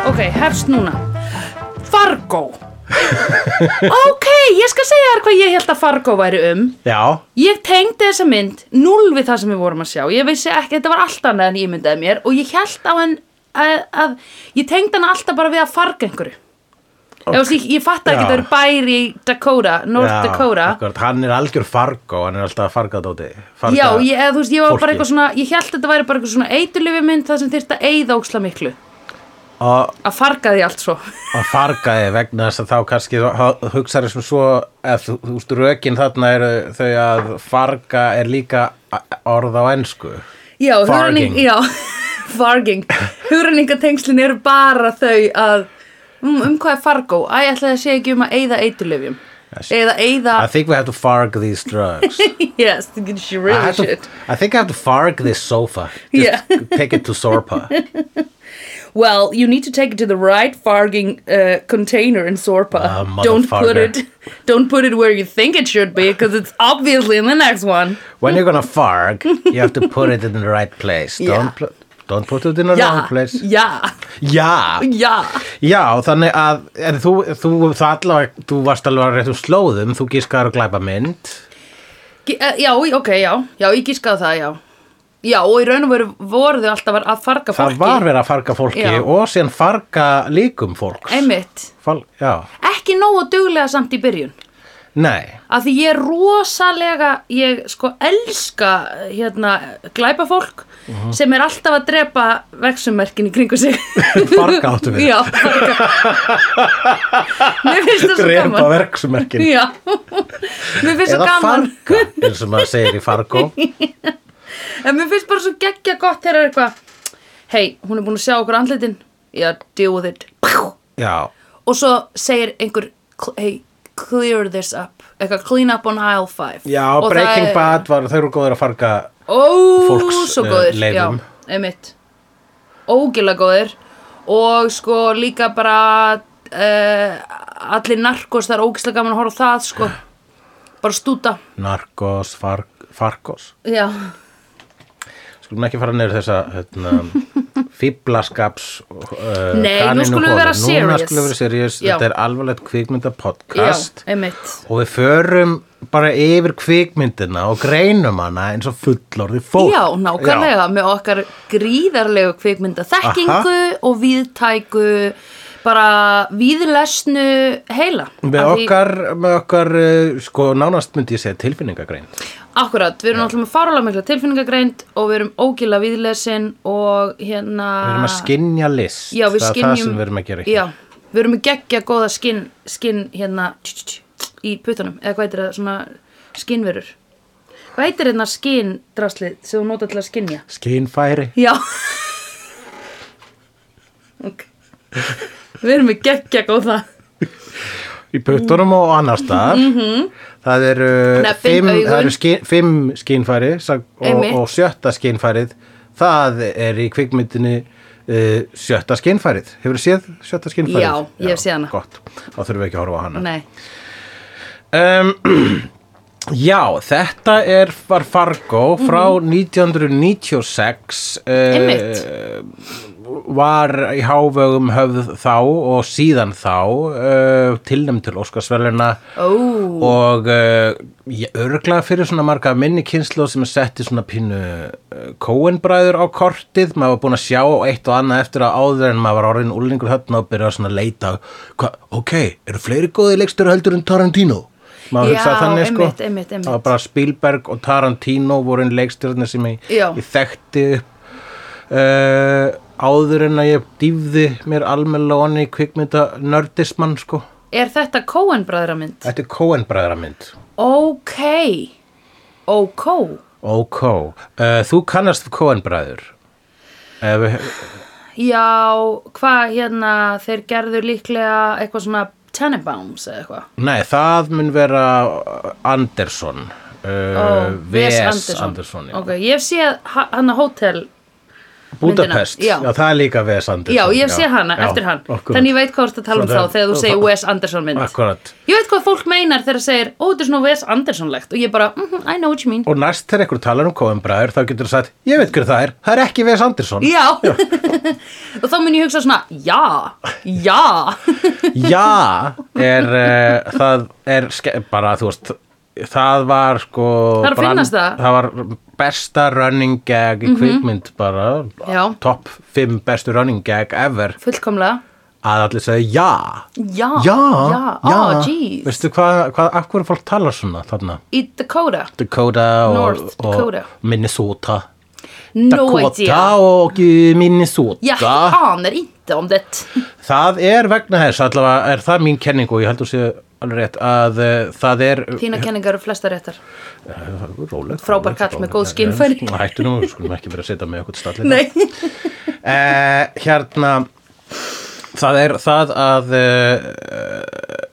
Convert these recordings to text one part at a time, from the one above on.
gerðist núna Fargo Ok, ég skal segja þér hvað ég held að Fargo væri um Já, Ég tengdi þessa mynd null við það sem við vorum að sjá Ég vissi ekki, þetta var allt annað en ég myndaði mér Og ég held á hann að, að Ég tengdi hann alltaf bara við að farga einhverju okay. Ég, ég, ég fatt ekki Já. það eru bær í Dakota, North já, Dakota akkurat. Hann er algjör fargo, hann er alltaf fargað dóti farga, Já, ég, eða, þú veist, ég var bara fólki. eitthvað svona Ég held að þetta væri bara eitthvað svona eiturlifi mynd Það sem þyrfti að eyða óksla miklu og, Að farga því allt svo og fargaði vegna þess að þá kannski hugsaði sem svo eða, þú, þú veist, rökin þarna eru þau að farga er líka orð á ensku Já, Farging. hugrenning Já, farging Hugrenningatengslin eru bara þau að Um, um hvað er Fargo? Æ, ætlaði að segja ekki um að eyða eiturlifjum Eða eyða I think we have to farg these drugs yes, she I, really have to, should. I think I have to farg this sofa Just take it to Sorpa Well, you need to take it to the right farging uh, container in Ah, Sorpa. don't put motherfucker. it, don't put it where you think it should be, because it's obviously in the next one. When you're gonna farg you have to put it in the right place Yeah. don't, pl don't put it in the Yeah, wrong place yeah, Já, yeah. Já, þannig að en þú, þú, það allavega, þú varst alveg að réttum slóðum, þú gískar að glæpa mynd G- eh, Já, í- ok, já, já, ég gískaði það, já. Já, og í raun og veru voru þau alltaf að farga það fólki. var verið að farga fólki Já. og síðan farga líkum fólks Einmitt. Fal, Já, Ekki nógu duglega samt í byrjun. nei Af því ég er rosalega, ég sko elska hérna glæpa fólk Mhm. sem er alltaf að drepa vexummerkin í kringu sig. Farga áttu við. Já, farga. Mér finnst það svo drepa gaman. verksmerkin Já, mér finnst það eða gaman. farga, eins og maður segir í fargo En mér finnst bara svo geggja gott þegar er eitthvað, hei, hún er búin að sjá okkur andlitin, já, deal with it. Pjú. Já, Og svo segir einhver, hei, clear this up, eitthvað clean up on aisle 5. já Og það Breaking er- Bad var, þau eru góður að farga Ó, fólks, svo eh, góðir leifum. Já, einmitt Ógila góðir Og sko líka bara uh, Allir narkos Það er ógislega gaman að horfa á það sko Bara stúta narkos, farg, fargos Já, Skulum ekki fara niður þessa hérna, fíblaskaps uh, Nei, nú kanínuholu. skulum við vera Núna serious. skulum við vera serious, Já. þetta er alvarlegt kvikmyndapodcast já, einmitt og við förum bara yfir kvikmyndina og greinum hana eins og fullorði fólk Já, nákvæmlega, með okkar gríðarlegu kvikmynda þekkingu og víðtæku bara víðlesnu heila Já. Með Af því- okkar, með okkar, uh, sko, nánast myndi ég segja tilfinningagrein. Akkurat, við erum náttúrulega með fárálega mikla tilfinningagreind og við erum ógila viðlesin og hérna Við erum að skinja list. Já, við það er skinnjum Það sem við erum að gera ekki. Já, við erum að geggja góða skinn skinn hérna tj, tj, tj, í putanum, eða hvað heitir það, svona skinnverur Hvað heitir hérna skinndraslið sem þú notar til að skinnja? Skinnfæri. Já Ok Við erum að geggja góða Í puttunum og annar staðar. Það eru, Hneppin, fimm, Mhm. það augun. eru skin, fimm skinnfæri sag- og, Einmitt. og sjötta skinnfærið. Það er í kvikmyndinni uh, sjötta skinnfærið. Hefur þið séð sjötta skinnfærið? Já, ég hef séð hana. Gott, þá þurfum við ekki að horfa á hana. Nei, Um, já, þetta er var Fargo frá Mhm. 1996 Einmitt. eh, var í hávegum höfð þá og síðan þá uh, tilnæmt til Óskarsverlina ó, og uh, ég örgla fyrir svona marga minni kynslu sem er sett í svona pínu uh, kóenbræður á kortið maður var búin að sjá eitt og annað eftir að áður en maður var orðin úlningur þarna og byrjaði svona að leita hva, ok, eru fleiri góði leikstur heldur en Tarantino? maður Já, hugsaði þannig sko einmitt, einmitt, einmitt. það var bara Spielberg og Tarantino voru einn leiksturðin sem ég, Já. ég þekkti upp uh, áður en að ég dýfði mér almennilega onni í kvikmynda nördismann sko er þetta Coen bræðramynd? Þetta er kóenbræðramynd Ok Ok Ok, uh, þú kannast við Coen bræður Ef við- Já, hvað hérna þeir gerðu líklega eitthvað svona Tenenbaums eða eitthvað Nei, það mun vera Andersson uh, Ó, Wes Andersson, já. Ok, ég hef séð ha- hann að hótel Budapest, myndina, já. það er líka V.S. Anderson Já, ég sé hana Já, eftir hann akkurat. Þannig ég veit hvað þú ert að tala um Svona þá þegar þú segir það- Wes Anderson mynd Akkurat. Ég veit hvað fólk meinar þegar það segir Ó, þetta er svona Wes Anderson-legt Og ég bara, mm I know what you mean og næst þegar einhver talar um Coen Bræður þá getur þú sagt, ég veit hver það er, það er ekki V.S. Anderson Já, Og þá mun ég hugsa svona, já, já Já, er, uh, það er ske- bara, þú veist, það var sko Það er að finnast það. Mhm. var besta running gag í kvikmynd bara Já. Top 5 bestu running gag ever Fullkomlega, Að allir segja já já, Já, Ah, já, ó, jeez Veistu hvað, hvað, af hverju fólk talar svona þarna? Í Dakota, Dakota North og, Dakota. og Minnesota no Dakota idea og uh, Minnesota Ég hanar inte om det Það er vegna þess, allavega er það mín kenning og ég heldur sé alveg rétt að uh, það er Eh, Þína kenningar eru flesta réttar Róleg, Frábær róleg, kall með róleg. góð skynfæri. Nú, Hættu nú, við skulum ekki vera að setja með okkur stallið Nei, eh, Hérna Það er það að eh,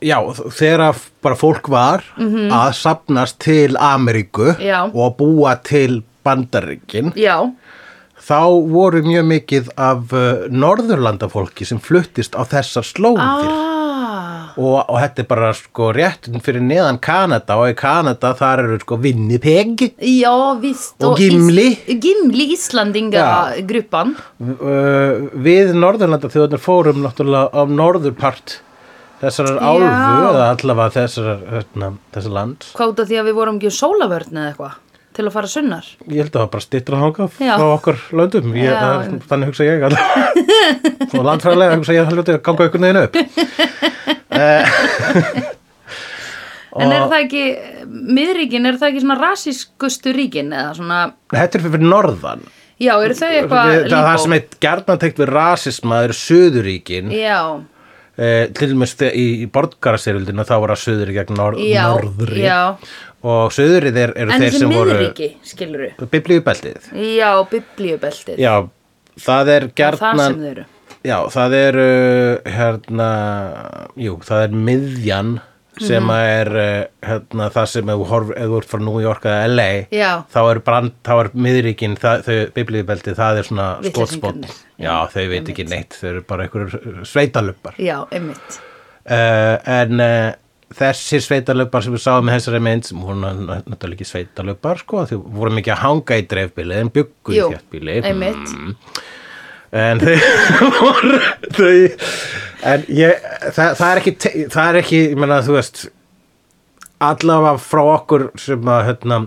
Já, þegar að bara fólk var að sapnast til Ameríku Mhm. Já. og búa til Bandaríkin já, þá voru mjög mikið af uh, Norðurlandafólki sem fluttist á þessar slóðir ah og, og þetta er bara sko rétt fyrir neðan Kanada og í Kanada þar eru sko Winnipeg Já, víst Og Gimli. Ís Gimli Já. Íslandingagruppan uh, við Norðurlanda þjóðnir fórum náttúrulega á norðurpart þessarar Já. álfu eða allavega þessarar, hérna, þessar land Hvað út af því að við vorum ekki um sólavörn eða eitthvað Til að fara sunnar ég held að það var bara stittra þangað Já. frá okkar löndum ég, Já, það er, einmitt. þannig hugsa ég alltaf og landfræðilega hugsa ég held að ganga einhvern veginn upp En er það ekki, miðríkin, er það ekki svona rasískustu ríkin eða svona þetta er fyrir norðan Já, eru þau eitthvað það, það líbó? sem er gerðan tegt við rasisma það eru söðuríkin Já, eh, til dæmis þe- í, í borgarastyrjöldina þá var það söðuri gegn norð, já, norðri já og söðurið er, eru En þeir þessi sem voru miðríki, skilur við biblíubeltið Já, biblíubeltið Já, það er Það sem gjarnan þau eru Já, það er uh, hérna, jú, það er miðjan sem Mhm. að er uh, hérna, það sem ef þú horf- ef þú ert frá New York eða LA Já, þá er, brand, þá er miðríkin það, þau, biblíubeltið, það er svona skotspotn Vitleysingarnir. Já, þau veit ekki neitt, þau eru bara einhverjur sveitalöppar já, einmitt uh, en uh, þessir sveitalöpar sem við sáum með þessari mynd sem voru ná- ná- náttúrulega ekki sveitalöpar sko, þau voru mikið að hanga í dreifbíli en byggu í Mm. Jú, þjáttbíli einmitt. en þau voru þau, en ég, það, það er ekki te- það er ekki, ég meina þú veist allavega frá okkur sem að hérna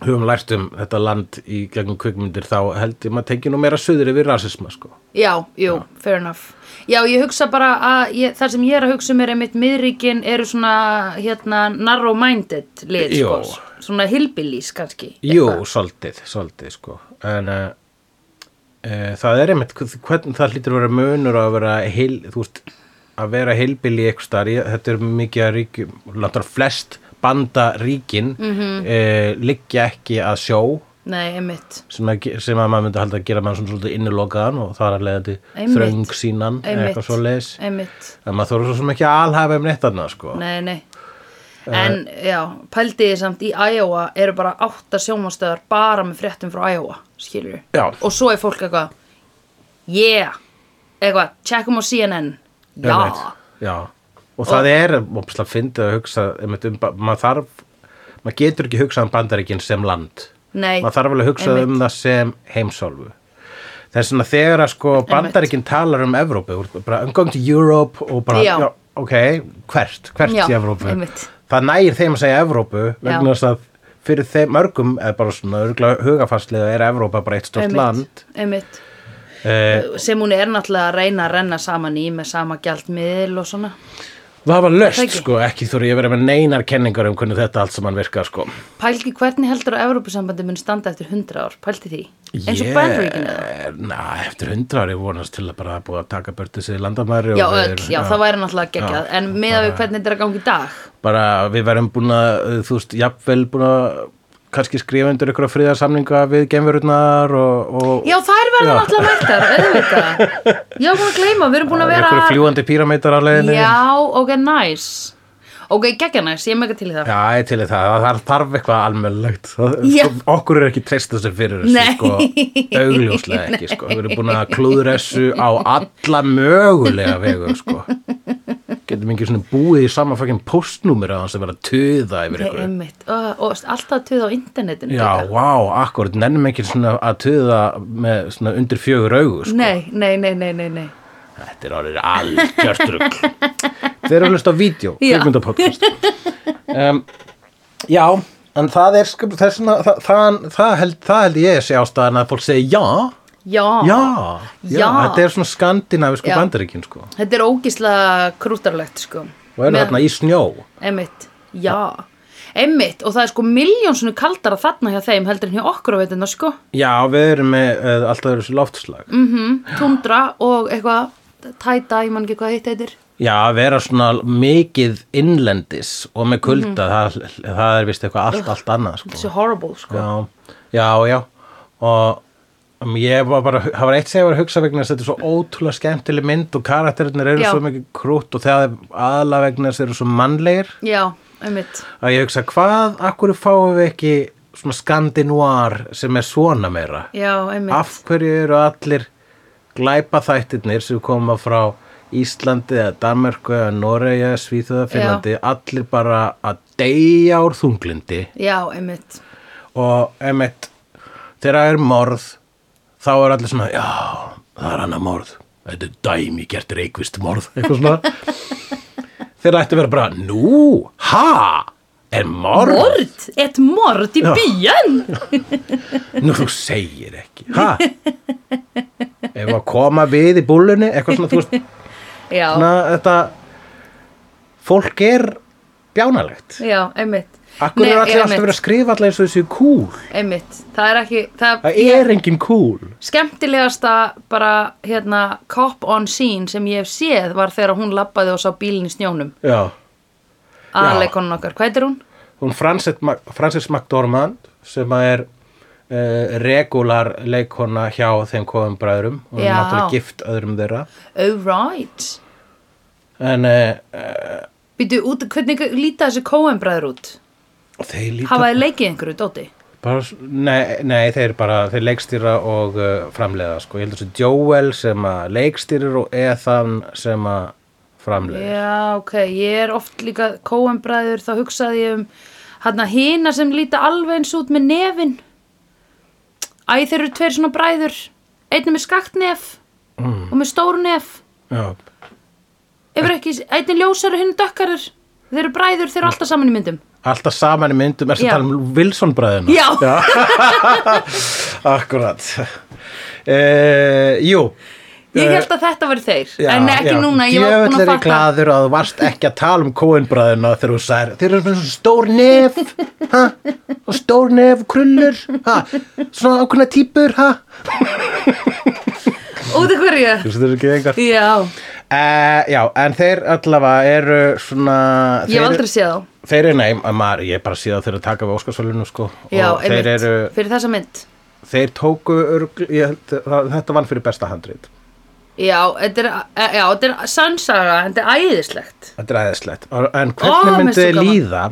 höfum lært um þetta land í gegnum kvikmyndir þá held ég maður tekið nú meira suður yfir rasisma sko. Já, jú, fair enough Já, ég hugsa bara að ég, það sem ég er að hugsa um er einmitt miðríkin eru svona hérna narrow-minded lið Jú. sko, svona hillbillies kannski Jú, svolítið, svolítið sko en uh, uh, það er einmitt hvern- hvernig það hlýtur að vera munur að vera heil, þú veist að vera heilbili eitthvað starf þetta er mikið að ríkjum, lantar flest bandaríkin mm Mhm. -hmm. liggja ekki að sjó Nei, einmitt, sem að, ge- sem að maður myndi halda að gera maður svona svolítið innilokaðan og það er að leiða til Einmitt. þröng sínan Einmitt. eitthvað svo leis einmitt en maður þarf svo sem ekki að alhafa um neitt annað sko Nei, nei Eh. En já, pældiði samt í Iowa eru bara átta sjónvastöðar bara með fréttum frá Iowa, skilur við Já. Og svo er fólk eitthvað Yeah, eitthvað, checkum á CNN Já, Einmitt. já. Og það er opslega fyndið að hugsa einmitt, um, ba- maður þarf maður getur ekki hugsað um bandaríkin sem land nei maður þarf alveg að hugsa um það sem heimsálfu það er svona þegar að sko bandaríkin talar um Evrópu þú ert bara, I'm going to Europe og bara, Já. ok, hvert, hvert Já, í Evrópu einmitt. það nægir þeim að segja Evrópu Já. vegna þess að fyrir þeim mörgum er bara svona örgulega hugafarslega er Evrópa bara eitt stort land Einmitt, einmitt eh, sem hún er náttúrulega að reyna að renna saman í með sama gjaldmiðil og svona það var löst Það ekki. sko, ekki þú ég verið með neinar kenningar um hvernig þetta allt saman virkar sko pælti hvernig heldur að Evrópusambandi mun standa eftir 100 ár, pælti því eins og Ég- Bandaríkin eða Næ, eftir hundra ári vonast til að bara hafa búið að taka börtu sig í landamæri og já, þeir- öll, já, það væri náttúrulega geggjað en með að við hvernig þetta er að gangi í dag bara við verðum búin að uh, þú veist, jafnvel búin að kannski skrifa undir ykkur friðarsamninga við genverurnar og, og já, þær verða náttúrulega mættar, auðvitað já, búin að gleyma, við erum búin að vera ykkur fljúandi píramítar að leiðinni já, ok, nice ok, geggja næs, ég er mega til í það Já, ég til í það, það þarf eitthvað almennlegt Já. Okkur er ekki treyst þessu fyrir Nei. þessu sko, augljóslega ekki sko. Við erum búin að klúður þessu á alla mögulega vegu sko. Getum ekki svona búið í sama fækinn postnúmer að hans að vera að tuða Nei, yfir um- ykkur einmitt, og, og alltaf tuð á internetinu Já, líka. vá, wow, akkurat, nennum ekki svona að tuða með svona undir fjögur augu sko. nei, nei, nei, nei, nei, nei Þetta er orðið algjört rugg Þeir eru að hlusta á vídeo, Já. kvikmyndapodcast um, Já, en það er sko, þess vegna það, það, það, held, það held ég sé ástæðan að fólk segi já já, Já, já, Já. þetta er svona skandinavisku Já. bandaríkin sko þetta er ógislega krútarlegt sko og eru þarna í snjó Einmitt, já Einmitt, og það er sko miljónsinu kaldara þarna hjá þeim heldur en hjá okkur á veitina sko Já, við erum með uh, alltaf þessu loftslag mm, Tundra og eitthvað tæta, ég man ekki hvað hitt heitir Já, að vera svona mikið innlendis og með Mm. kulda, það, það er vist eitthvað allt, allt annað sko. Þessi horrible sko já, já, já og um, ég var bara það var eitt sem ég var að hugsa vegna þess að þetta er svo ótrúlega skemmtileg mynd og karakterinir eru Já. svo mikið krútt og það er aðla vegna þess að þeir eru svo mannlegir Já, einmitt að ég hugsa hvað, akkur fáum við ekki svona skandinúar sem er svona meira Já, einmitt af hverju eru allir glæpa þættirnir sem koma frá Íslandi eða Danmörku eða Noregi eða Svíþjóða Finnlandi allir bara að deyja úr þunglindi Já, einmitt og emitt þegar það er morð þá er allir svona, já, það er annað morð þetta er dæmi gert reikvist morð eitthvað svona þegar ætti að vera bara, nú, ha er morð, Mord, eitt mord í Já. bíjan nú þú segir ekki ha ef að koma við í búllunni eitthvað svona, þú veist, Já, svona þetta fólk er bjánalegt já, einmitt akkur Nei, er allir alltaf einmitt, að vera að skrifa allir eins og þessu kúl Einmitt, það er ekki Það, það er engin kúl skemmtilegasta bara hérna cop on scene sem ég hef séð var þegar hún labbaði og sá bílinn í snjónum já aðleikonun okkar, hvað heitir hún? hún Frances, Mac- Frances McDormand sem að er uh, regular leikona hjá þeim kofum bræðurum og hún er Já. náttúrulega gift öðrum þeirra Oh right en uh, Býtu, út, hvernig líta þessi Coen bræður út? þeir líta Hafa þið leikið einhverju, Dóti? bara, s- nei, nei, þeir bara þeir leikstýra og uh, framleiða sko. ég held að þessu Joel sem að leikstýrir og Ethan sem að framleiða Já, ok, ég er oft líka Coen bræður, þá hugsaði ég um hérna hina sem líta alveg eins út með nefin Æ, þeir eru tveir svona bræður einn er með skakt nef Mm. og með stór nef Já. Ef er ekki, einn er ljósari, hinn er dökkarir Þeir eru bræður, þeir eru alltaf saman í myndum alltaf saman í myndum er sem Já. tala um Wilson bræðina Já. akkurat uh, jú Ég held að þetta var þeir Eh, Já, En ekki já. núna, ég var búin Djöfull að er ég fatta glaður að þú varst ekki að tala um kóinbræðina þegar þú sær Þeir eru með svona stór nef ha? og stór nef og krullur ha? svona ákveðna típur ha? Út af hverju Þú veist, þeir eru ekki engar uh, Já, Eh, Já, en þeir allavega eru svona ég hef þeir- aldrei séð þá Þeir eru, nei, að maður, ég er bara síðan þeir eru að taka við Óskarsvölinu sko Já, og einmitt, þeir eru, fyrir þessa mynd þeir tóku örg, ég, held að þetta vann fyrir besta handrið Já, þetta er, e- já, þetta er sannsaga Þetta er æðislegt Þetta er aðeinslegt. En Ó, hvernig mér myndi finnst þið svo gaman. líða?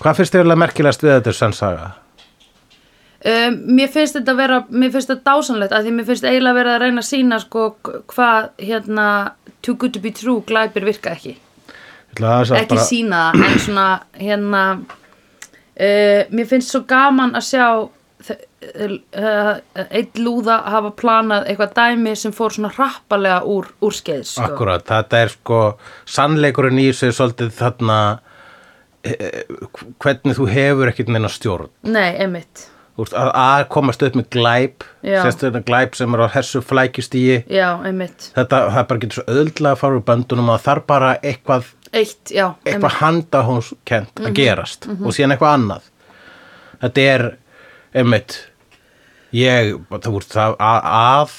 Hvað finnst þið eiginlega merkilegast við þetta sannsaga? um, Mér finnst þetta vera, mér finnst þetta dásanlegt af Því mér finnst eiginlega verið að reyna að sína sko, k- Hvað, hérna Too good to be true, glæpir virka ekki Ég ætla aðeins að ekki bara- sína það en svona hérna uh, mér finnst svo gaman að sjá þ- uh, einn lúða hafa planað eitthvað dæmi sem fór svona rappalega úr, úr skeið sko. Akkurat, þetta er sko sannleikurinn í þessu er svolítið þarna e, e, hvernig þú hefur ekkert neina stjórn nei, einmitt Þú veist, að, að komast upp með glæp Já. sérstöðna glæp sem er á hessu flækistíi já, einmitt, þetta það bara getur svo öðldlega að fara úr böndunum að það er bara eitthvað, eitt, já einmitt. Mhm. eitthvað handahónskent að gerast og síðan eitthvað annað þetta er einmitt ég, það voru það að, að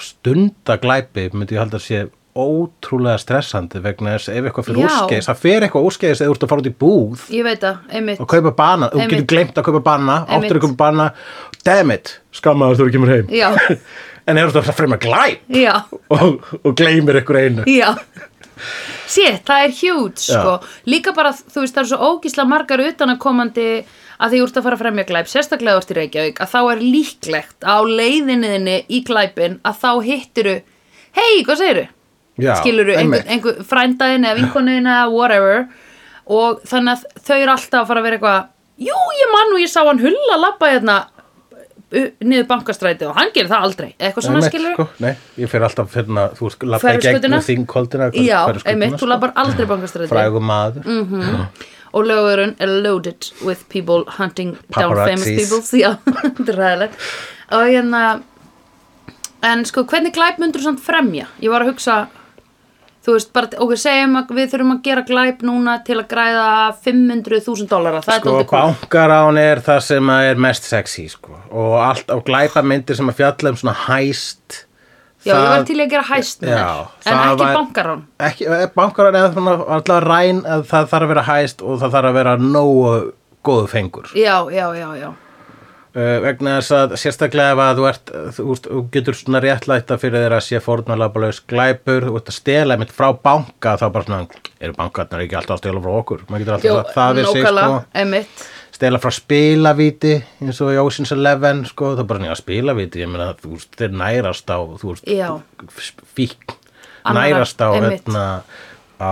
stunda glæpi myndi ég halda að sé ótrúlega stressandi vegna þess ef eitthvað fyrir Já. úrskeiðis það fer eitthvað úrskeiðis eða þú ert að fara út í búð ég veit það, einmitt og kaupa bana, þú getur Einmitt. glemt að kaupa bana áttur Einmitt. að kaupa bana, damn it skammaður þú kemur heim já, en ef þú ert að fremja glæp já, og, og gleymir ykkur einu já Sétt, það er hjút sko. Líka bara, þú veist, það er svo ógísla margar utanakomandi að því úr þetta að fara að fremja glæp, sérstaklega úr til Reykjavík að þá er líklegt á leiðinniðinni í glæpin að þá hittiru hei, hvað segiru? Já, skiluru, einhver, einmitt. einhver frændaðin eða vinkonuðin eða whatever og þannig að þau eru alltaf að fara að vera eitthvað jú, ég mann og ég sá hann hulla labba hérna u- niður bankastræti og hann gerir það aldrei eða eitthvað svona Einmitt, skiluru sko, nei, ég fer alltaf fyrir að þú lappa í Hverfisgötuna? gegn þingkoldina Já, einmitt, þú labbar Mm, aldrei bankastræti frægum sko. maður og lögurinn er loaded with people hunting down famous Paparazzis. people já, þetta er ræðilegt og hérna en sko, hvernig glæp myndur samt fremja? ég var að hugsa þú veist, bara, ok, segjum að við þurfum að gera glæp núna til að græða 500.000 dólara, það sko, er dóttir kúl bankarán er það sem að er mest sexy sko. og allt á glæpamyndir sem að fjalla um svona hæst já, ég var það- til í að gera hæst með Já, þér en það ekki var- bankarán ekki, eh, bankarán eða svona alltaf ræn að það þarf að vera hæst og það þarf að vera nógu góðu fengur já, já, já, já, uh, vegna þess að sérstaklega ef að þú, ert, þú, veist, þú getur svona réttlæta fyrir þeir að sé fórnarlapalaus glæpur þú ert að stela mitt frá banka þá bara svona, eru bankarnar ekki alltaf að stela frá okkur maður getur já, alltaf sagt það við sig nákvæmlega, sko, emitt stela frá spilavíti eins og í Ocean's Eleven sko, það er bara nýja spilavíti ég meina þú veist, þeir nærast á þú veist, Já. fíkn Annarra, nærast á, einmitt. hérna, á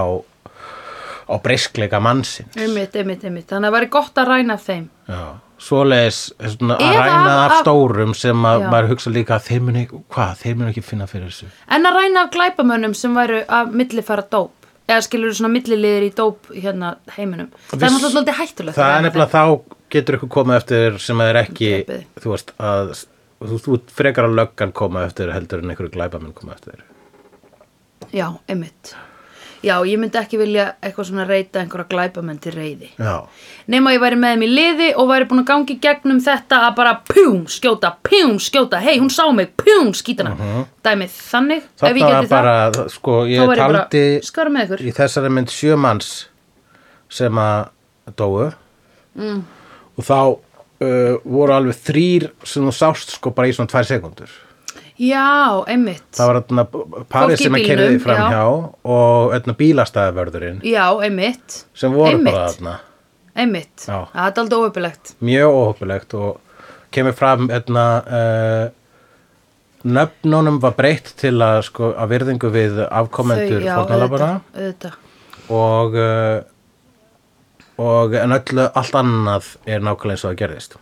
á breyskleika mannsins emitt, emitt, emitt, þannig að það væri gott að ræna þeim Já, svoleiðis svona, að Eða ræna af- af af- stórum sem að Já. maður hugsa líka að þeir muni, hvað, þeir muni ekki finna fyrir þessu En að ræna af glæpamönnum sem væru að millifara dóp eða skilur svona milliliðir í dóp hérna heiminum. það er Viss- náttúrulega svolítið hættulegt. það að er ræna nefnilega þá getur ykkur koma eftir sem að er ekki, Drepið. þú veist að þú, þú frekar að löggan koma eftir heldur en einhverju glæbamenn koma eftir þeim. Já, einmitt. Já, ég myndi ekki vilja eitthvað svona reyta einhverja glæpamenn til reyði. Já, Nefn að ég væri með þeim í liði og væri búin að gangi gegnum þetta að bara pjúm skjóta, pjúm skjóta, hei hún sá mig, pjúm skítana. Dæmið þannig, ef ég Uh-huh. þarna var geti bara, það, sko, þá ég væri ég bara taldi skara með ykkur. í þessari mynd sjö manns sem að dóu Mm. og þá uh, voru alveg þrýr sem þú sást sko bara í svona tvær sekundur Já, einmitt. það var þarna Fólk parið í sem að bílnum, kerði fram já. hjá og þarna bílastæðavörðurinn Já, einmitt. sem voru bara Einmitt. þarna Einmitt. Já. Það er aldrei óöpilegt. mjög óhöpulegt og kemur fram þarna uh, nöfnunum var breytt til að sko að virðingu við afkomendur Þau, já, fórnalabana auðvitað, auðvitað. og uh, og en öllu allt annað er nákvæmlega eins og það gerðist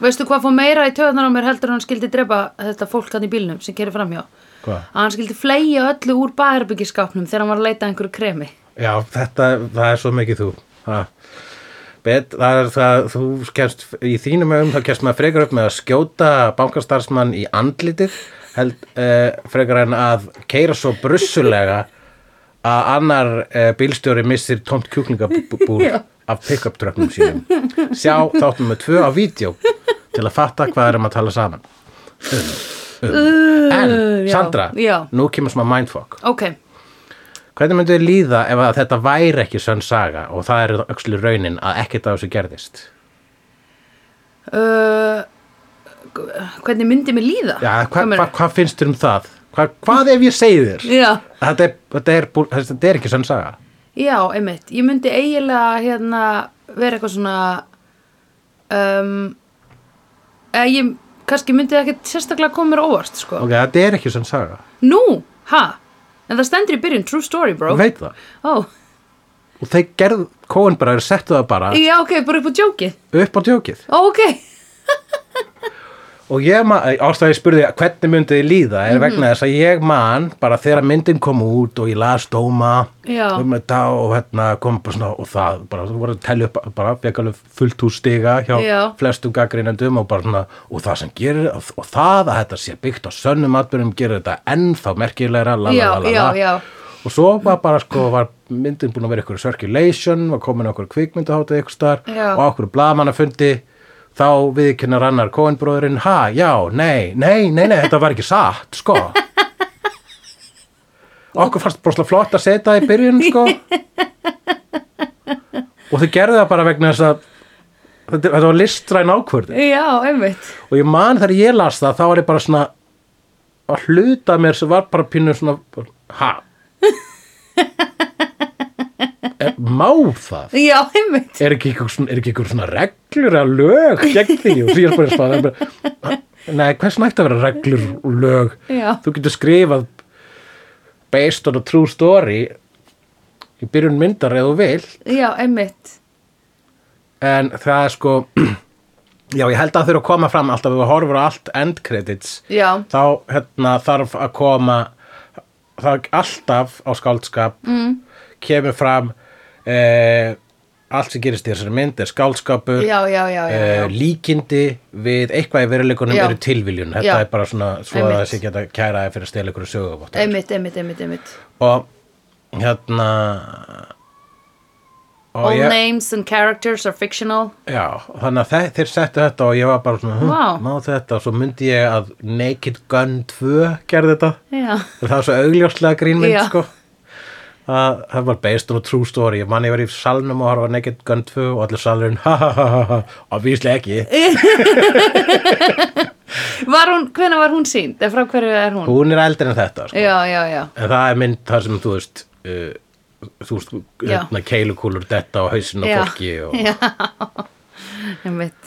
Veistu hvað fór meira í töðanar á mér heldur en hann skildi drepa þetta fólk hann í bílnum sem kerir framhjá? Hvað? Að hann skildi fleia öllu úr baðherbyggiskápnum þegar hann var að leita að einhverju kremi. Já, þetta, það er svo mikið þú ha. Bet, það er það, þú kemst í þínum augum, þá kemst maður frekar upp með að skjóta bankastarfsmann í andlitið held, eh, frekar en að keira svo brussulega að annar eh, bílstjóri missir tómt kjúklingabúr af pick-up tröknum sínum sjá þáttum með tvö á vídeo til að fatta hvað erum að tala saman um, um. en, Uh, já, Sandra já. nú kemur smá mindfuck Ok, Hvernig myndu þið líða ef að þetta væri ekki sönn saga og það er öxlu raunin að ekkert af þessu gerðist? uh, hvernig myndi mér líða? Já, hvað Hvað hva, meira? hva finnst þér um það? Hva, hvað ef ég segi þér? Já, Þetta er, þetta er, bú- þetta er ekki sönn saga. já, einmitt. Ég myndi eiginlega hérna vera eitthvað svona, um, eða ég kannski myndi ekkert sérstaklega koma mér á óvart, sko. Ok, þetta er ekki sönn saga. Nú, ha? En það stendur í byrjun, true story, bro. Ég veit það. Ó, Og þeir gerð, Coen bara er settu það bara já, ok, bara upp á djókið. upp á djókið. Ó, ok. Og ég man, ástæði ég spurði hvernig myndið þið líða er Mhm. vegna þess að ég man bara þegar myndin kom út og ég las dóma Já. um þetta og hérna kom bara svona og það bara, þú voru að telja upp bara fekk alveg fullt úr stiga hjá Já. flestum gaggreinandum og bara svona og það sem gerir og, og það að þetta sé byggt á sönnum atbyrjum gerir þetta ennþá merkilegra la, la, Já, la, la, já, la. já. og svo var bara sko var myndin búin að vera ykkur circulation var komin okkur kvikmyndaháttið ykkur star Já. og okkur blagamannafundi þá viðkynnar annar Coen-bróðurinn ha, já, nei, nei, nei, nei, þetta var ekki satt, sko okkur fannst bara svona flott að setja það í byrjun, sko og þau gerðu það bara vegna þess að þetta, þetta var listræn ákvörðin Já, einmitt. og ég man þegar ég las það, þá var ég bara svona að hluta mér sem var bara pínu svona, bara, ha e- má það? já, einmitt Er ekki ykkur svona, er ekki ykkur svona reglur að lög gegn því og því er bara að spara bara, Nei, hvers nægt að vera reglur og lög? Já. Þú getur skrifað based on a true story í byrjun myndar eða þú vilt já, einmitt en það er sko já, ég held að þurfa að koma fram alltaf ef við horfur á allt end credits Já. þá hérna, þarf að koma það alltaf á skáldskap mm. kemur fram eh, allt sem gerist í þessari mynd er skáldskapur Já, já, já, já, já. eh, líkindi við eitthvað í veruleikunum Já. eru tilviljun þetta Já. er bara svona svo að Einmitt. það sé ekki að kæra þér fyrir að stela ykkur sögum einmitt, einmitt, einmitt, einmitt og hérna og all ég- names and characters are fictional Já, þannig að þe- þeir settu þetta og ég var bara svona, hm, Vá. má þetta og svo myndi ég að Naked Gun 2 gerði þetta, já, það var svo augljóslega grínmynd Já. sko að það var based on a true story ég mann ég var í salnum og horfa á Naked Gun 2 og allir salurinn, ha ha ha ha ha og víslega ekki, var hún, hvenær var hún sínd eða frá hverju er hún hún er eldri en þetta sko. já, já, já, en það er mynd þar sem þú veist uh, þú veist, Já. hérna, keilukúlur detta á hausinn á Já. fólki og, já einmitt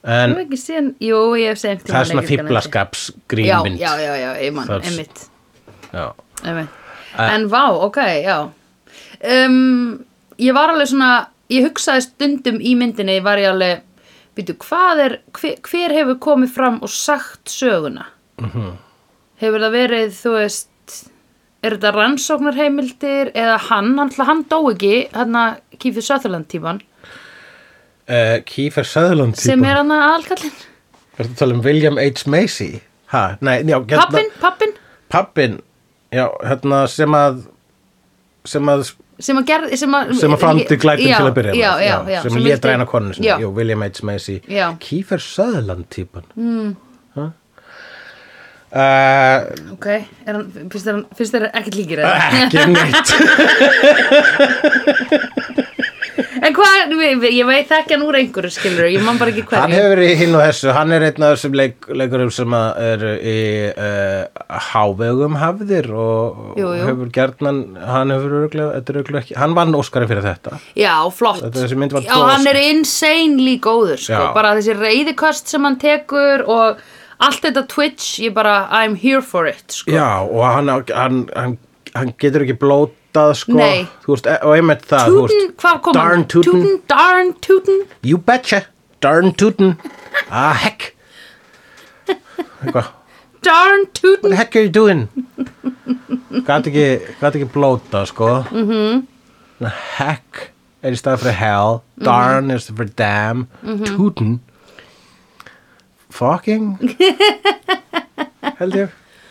en Ég hef ekki síðan, jú, ég hef seint það er svona fíblaskaps sko. Já, grínmynd já, já, já, ég mann, Það er- einmitt, já. einmitt. En vá, ok, já um, Ég var alveg svona Ég hugsaði stundum í myndinni Var ég alveg, býtu, hvað er hver, hver hefur komið fram og sagt söguna? Hefur það verið, þú veist Er þetta rannsóknarheimildir Eða hann, hann, hann dó ekki hérna, Hann að Kífi Söðurland tíman Uh, Kiefer Sutherland Sem típan. er hann að alkallinn Er þetta að tala um William H. Macy? Ha, nei, já, hérna, Pappin, pappin Pappin, já, hérna sem að sem að, sem að gerði sem að, sem að framdi glæpin Já, til að byrja með. já, já, já, sem, sem lét vildi- ræna konu sinni, já, jú, William H. Macy Já. Kiefer Sutherland típan mm. uh, ok, er hann, finnst þér hann- finnst þér ekkert líkir eða? ekki um neitt en hvað, ég- ég veit þekki hann úr einhverju skilur, ég man bara ekki hverju hann hefur verið í hinn og þessu, hann er einn af þessum leik, leikurum sem að eru í uh, hávegum hafðir og Jú, jú. hefur gerðnan hann hefur örgulega, þetta er örgulega ekki hann vann Óskari fyrir þetta já, flott Þetta- þessi mynd var já, góð, hann sko. er insanely góður sko, Já. bara þessi reyðiköst sem hann tekur og allt þetta twitch ég bara, I'm here for it sko. Já, og hann, hann, hann, hann getur ekki blótað, sko. Nei. Þú veist, og einmitt það, þú Tootin, veist. hvað kom Darn hann? tootin. Tootin, darn tootin You betcha. Darn tootin. Ah, heck. Eitthvað. darn What tootin the heck are you doing? Gat ekki, gat ekki blótað, sko. Mm Mhm. -hmm. Heck er í stað fyrir hell. Darn er í stað fyrir damn. Mhm. Tootin. Fucking. Held ég.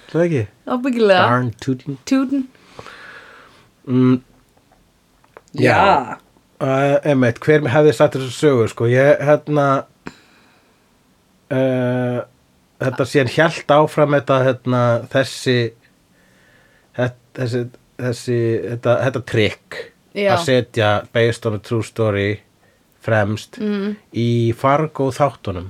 Það ekki. ábyggilega, Darn Mm. tootin. tootin Já. Uh, einmitt, hver hefði sagt þessu sögu sko, ég hérna uh, þetta síðan hjælt áfram þetta hérna, þessi þetta, þessi, þessi þetta, þetta trikk Já. að setja based on a true story fremst mm. í Fargo þáttunum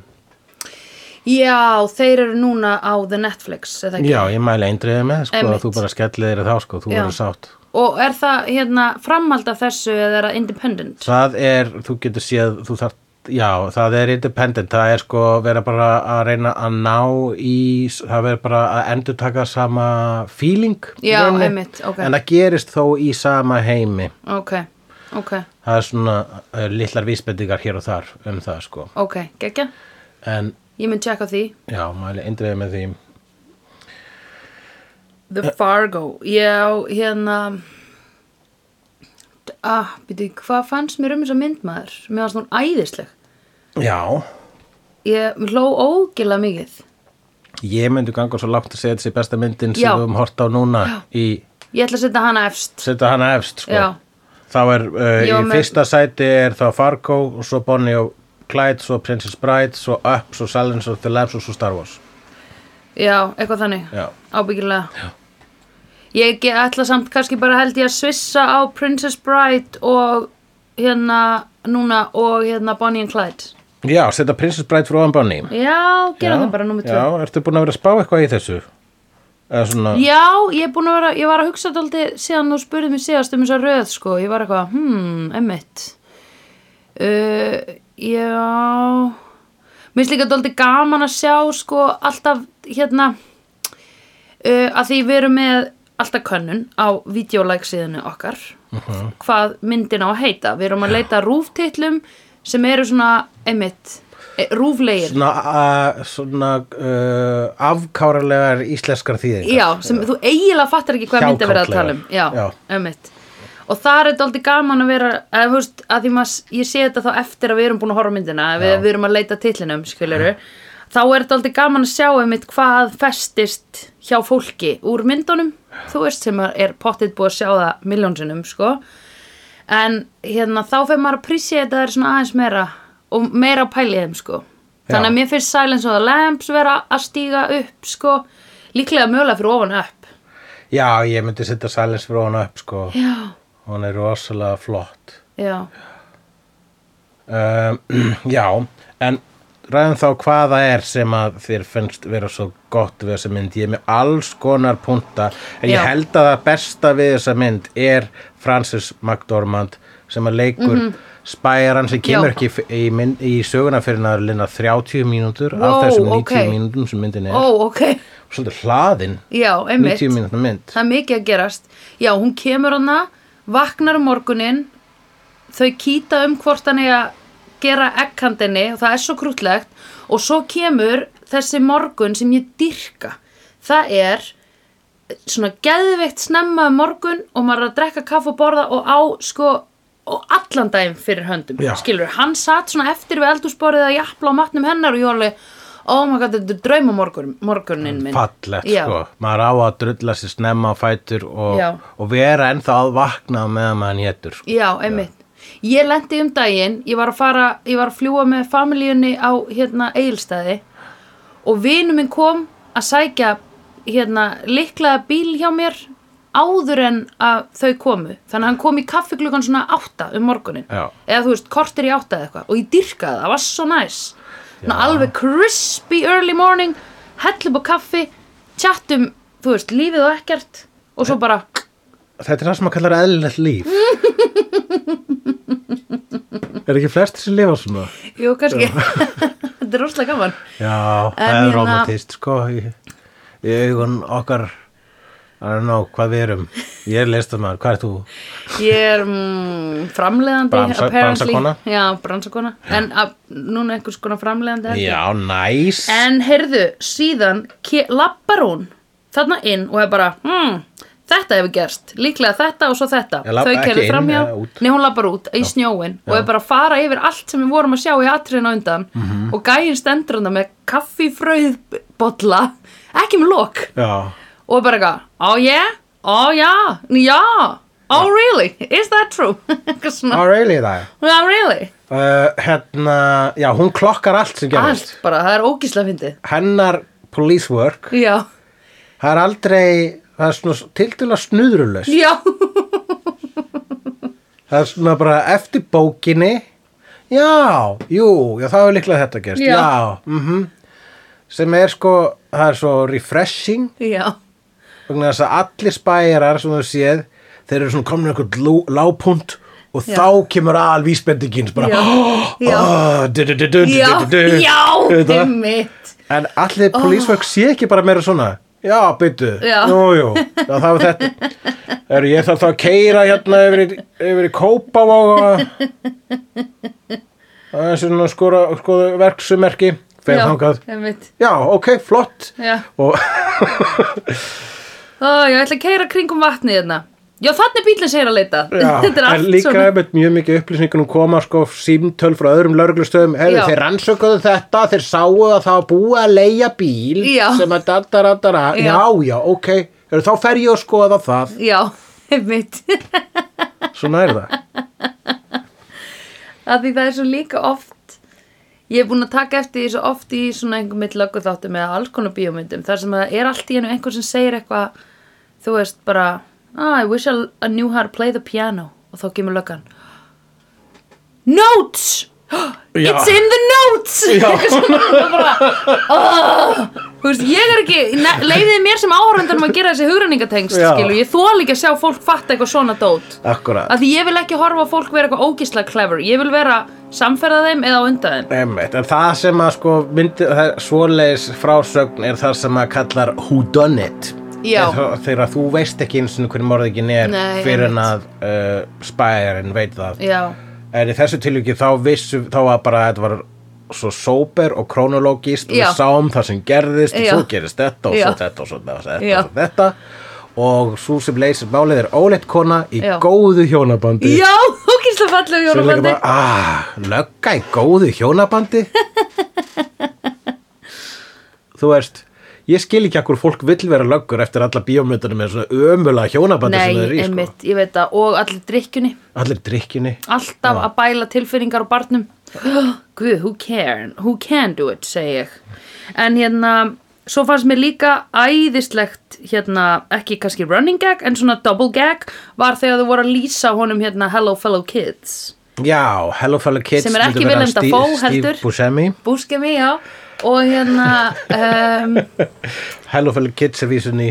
já, þeir eru núna á the Netflix eða ekki? Já, ég mæli eindriðið með sko, Einmitt. að þú bara skellið þér í þá sko, þú Já. verður sátt Og er það hérna framhald af þessu eða er það independent? Það er, þú getur séð, þú þart, já, það er independent, það er sko vera bara að reyna að ná í, það verður bara að endurtaka sama feeling. í Já, rauninni. einmitt, ok. En það gerist þó í sama heimi. Ok, ok, Það er svona uh, litlar vísbendingar hér og þar um það sko. ok, geggja. En Ég mun tjekka á því. já, mæli eindriðið með því. The Fargo, já, hérna, ah, byrju, hvað fannst mér um þessa myndmaður? Mér fannst hún æðisleg. Já, Ég mér hló ógila mikið. ég myndi ganga svo langt að segja þessi besta myndin sem Já. við höfum hort á núna í, Ég ætla að setja hana efst. setja hana efst sko. Já. Þá er uh, Ég í var með- fyrsta sæti er þá Fargo og svo Bonnie og Clyde, svo Princess Bride, svo Up, svo Silence of the Labs og svo Star Wars. Já, eitthvað þannig. Já. Ábyggilega. Já. Ég ge- ætla samt kannski bara held ég að svissa á Princess Bride og hérna núna og hérna Bonnie and Clyde. Já, setja Princess Bride frá ofan Bonnie. Já, gera það bara nummer 2 Já, ertu búin að vera að spá eitthvað í þessu? eða svona, Já, ég er búin að vera, ég var að hugsa dálítið síðan og spurði mig síðast um þessa röð sko, ég var eitthvað, hmm, emmitt uh, Já Mér finnst líka dálítið gaman að sjá sko alltaf hérna uh, að því við erum með alltaf könnun á videolæk síðinu okkar hvað myndin á að heita, við erum að leita rúftitlum sem eru svona, emmitt rúflegir svona, uh, svona uh, afkáralegar íslenskar þýðingar Já, sem þú eiginlega fattar ekki hvað myndi að vera að tala um Já, Já. ömmitt Og þar er þetta aldrei gaman að vera að, þú veist, að því maður, ég sé þetta þá eftir að við erum búin að horfa á myndina að við, Já. við erum að leita titlinum, skiljuru Þá er þetta aldrei gaman að sjá einmitt hvað festist hjá fólki úr myndunum Þú veist sem er pottitt búið að sjá það miljónsinnum, sko En hérna, þá fer maður að prísi þetta er svona aðeins meira og meira að pæli þeim, sko Þannig Já. að mér finnst Silence of the Lambs vera að stíga upp, sko Líklega mögulega fyrir ofan upp Já, ég myndi setja Silence fyrir hana upp sko. Já, Hún er rosalega flott já um, Já, en ræðum þá hvað það er sem að þér finnst vera svo gott við þessa mynd Ég er með alls konar punta En Já. ég held að það besta við þessa mynd er Francis McDormand sem að leikur mm spæran sem Mhm. Já. kemur ekki f- í, mynd, í söguna fyrir að linna 30 mínútur af Wow, þessum 90 ok. mínútum sem myndin er Ó, ok, svolítið hlaðin já, 90 einmitt mínútna mynd Það er mikið að gerast Já, hún kemur hana, vaknar um morgunin Þau kýta um hvort hann er að gera ekkandinni og það er svo krútlegt og svo kemur þessi morgun sem ég dyrka það er svona geðveikt snemma um morgun og maður er að drekka kaff og borða og á sko og allan daginn fyrir höndum Já. skilur, hann satt svona eftir við eldúsborðið að jafla á matnum hennar og ég var alveg oh my god, þetta er drauma morgunin minn fallegt Já. sko, maður á að drulla sér snemma á fætur og, Já. og vera ennþá að vakna meðan maður hétur sko. Já, einmitt. Ég lendi um daginn, ég var að fara, ég var að fljúa með familíunni á hérna Egilstaði og vinur minn kom að sækja hérna liklaða bíl hjá mér áður en að þau komu. Þannig að hann kom í kaffiklugan svona átta um morgunin. Já. Eða þú veist, kortir í átta eða eitthvað og ég dyrkaði það, það var svo næs. Ná, alveg crispy early morning, hellum á kaffi, tjattum, þú veist, lífið og ekkert og svo bara... þetta er það sem maður kallar eðlilegt líf er ekki flestir sem lifa svona Jú, kannski. Þetta er rosalega gaman. já, það En er hérna- romantist sko í, í augun okkar I don't know, hvað við erum ég er listamaður, hvað er þú? Ég er mm, framleiðandi, Bransa- apparently. bransakona? Já, bransakona. En að, núna einhvers konar framleiðandi. held ég. já, næs En heyrðu, síðan ke- lappar hún þarna inn og er bara, hmm, þetta hefur gerst. Líklega þetta og svo þetta. Ég labba Þau ekki keyrðu inn framhjá. eða út. Nei, hún lappar út í snjóin og er bara að fara yfir allt sem við vorum að sjá í atriðin á undan. Mhm. Og gæinn stendur hann með kaffifröðbolla, ekki með lok. já, og bara eitthvað, oh yeah, oh yeah, já, oh really, is that true? Eitthvað svona, oh really það oh really, uh, hérna, já, hún klokkar allt sem gerist allt bara, það er ógíslega fyndið. hennar police work Já, Það er aldrei, það er svona tildulega snuðrulöst. já, Það er svona bara eftir bókinni, já, jú, já það er líklega þetta gerst, Já. já, já mhm. sem er sko, það er svo refreshing, já, vegna þess að allir spæjarar sem þú séð, þeir eru svona komin einhvern lágpunt og Já. þá kemur alvísbendingins bara, Já. Já. "Ah, du-du-du-du, já, du-du-du-du." já, Þetta. einmitt, En allir polísverk sé ekki bara meira svona Já, byttu, Já. jú, jú Já, það var þetta er, Ég þarf þá að keira hérna yfir, í- yfir í kópa og Það er svona skora, skoða verksumerki Fyrir já, þangað einmitt, Já, ok, flott já. Og Ó, ég ætla að keira kringum vatnið hérna. Já, þannig bílinn segir að leita. já, Þetta er en allt líka svona. einmitt mjög mikið upplýsingunum koma sko símtöl frá öðrum lauruglustöðum Já. Hefur þeir rannsökuðu þetta, þeir sáu að það var búið að leigja bíl Já. sem að daddaradara, Já. já, já, ok Heyrðu, Þá fer ég að skoða það Já, einmitt. Svona er það. að því það er svo líka oft ég er búin að taka eftir því svo oft í svona einhver mitt lögu þáttum eða alls konar bíómyndum þar sem það er allt í hennu einhver sem segir eitthvað þú veist bara ah, I wish I, I knew how to play the piano og þá kemur löggan Notes! Já. It's in the notes! Eitthvað svona, og bara, "Ah, Þú veist, ég er ekki, ne- leiðið mér sem áhörfundunum að gera þessi hugræningatengst, Já. skilu, ég þól ekki að sjá fólk fatta eitthvað svona dót. Akkurat Af því ég vil ekki horfa á fólk vera eitthvað ógíslega clever, ég vil vera samferða þeim eða á undan þeim. Einmitt. En það sem að sko myndi, það, svoleiðis frásögn er það sem að kallar who done it Já. Er þá- Þegar að þú veist ekki eins og hvernig morðingin er Nei, fyrir en að einmitt. uh, spæjarinn veit það Já, En í þessu tilvíki þá vissu þá var bara að þetta var svo sóper og krónológist og Já. við sáum það sem gerðist og Já. svo gerist þetta og Já. svo þetta og svo þetta og svo þetta Já. og svo þetta og svo sem leysir málið er óleitt kona í Já. góðu hjónabandi já ógíslega fallegu Svo er líka jólabandi. bara, ah, lögga í góðu hjónabandi Þú veist Ég skil ekki akkur fólk vill vera löggur eftir alla bíómyndunum með svona ömulega hjónabandi Nei, sem þeir eru í sko. einmitt, ég veit það, og allir drikkjunni, Allir drikkjunni alltaf að bæla tilfinningar á barnum. Guð, who can, who can do it, segi ég. En hérna, svo fannst mér líka æðislegt, hérna, ekki kannski running gag, en svona double gag, var þegar þau voru að lýsa honum hérna Hello Fellow Kids. Já, Hello Fellow Kids Sem er myndi ekki vera Willem Steve- Dafoe Steve heldur. Buscemi Búskemi, já, og hérna, um, Hello Fellow Kids er vísun í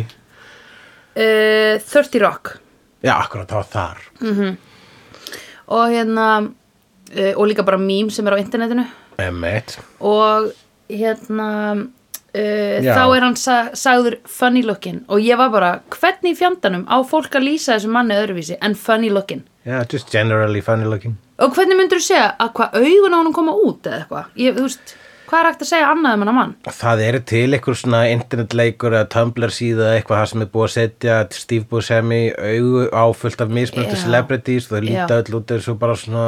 uh, 30 Rock. Já, akkurat, það var þar og hérna uh, og líka bara mím sem er á internetinu Emmett og hérna uh, Já. þá er hann sa sagður funny looking og ég var bara hvernig í fjandanum á fólk að lýsa þessu manni öðruvísi en funny looking Já, just generally funny looking og hvernig myndur þú segja að hvað augun á hann koma út eða eitthvað, ég, þú veist hvað er hægt að segja annað um hann að mann Það eru til einhver svona internetleikur eða Tumblr síða eitthvað það sem er búið að setja Steve Buscemi augu áfullt af mismöndu Já. celebrities þau líta Já. öll út eins og bara svona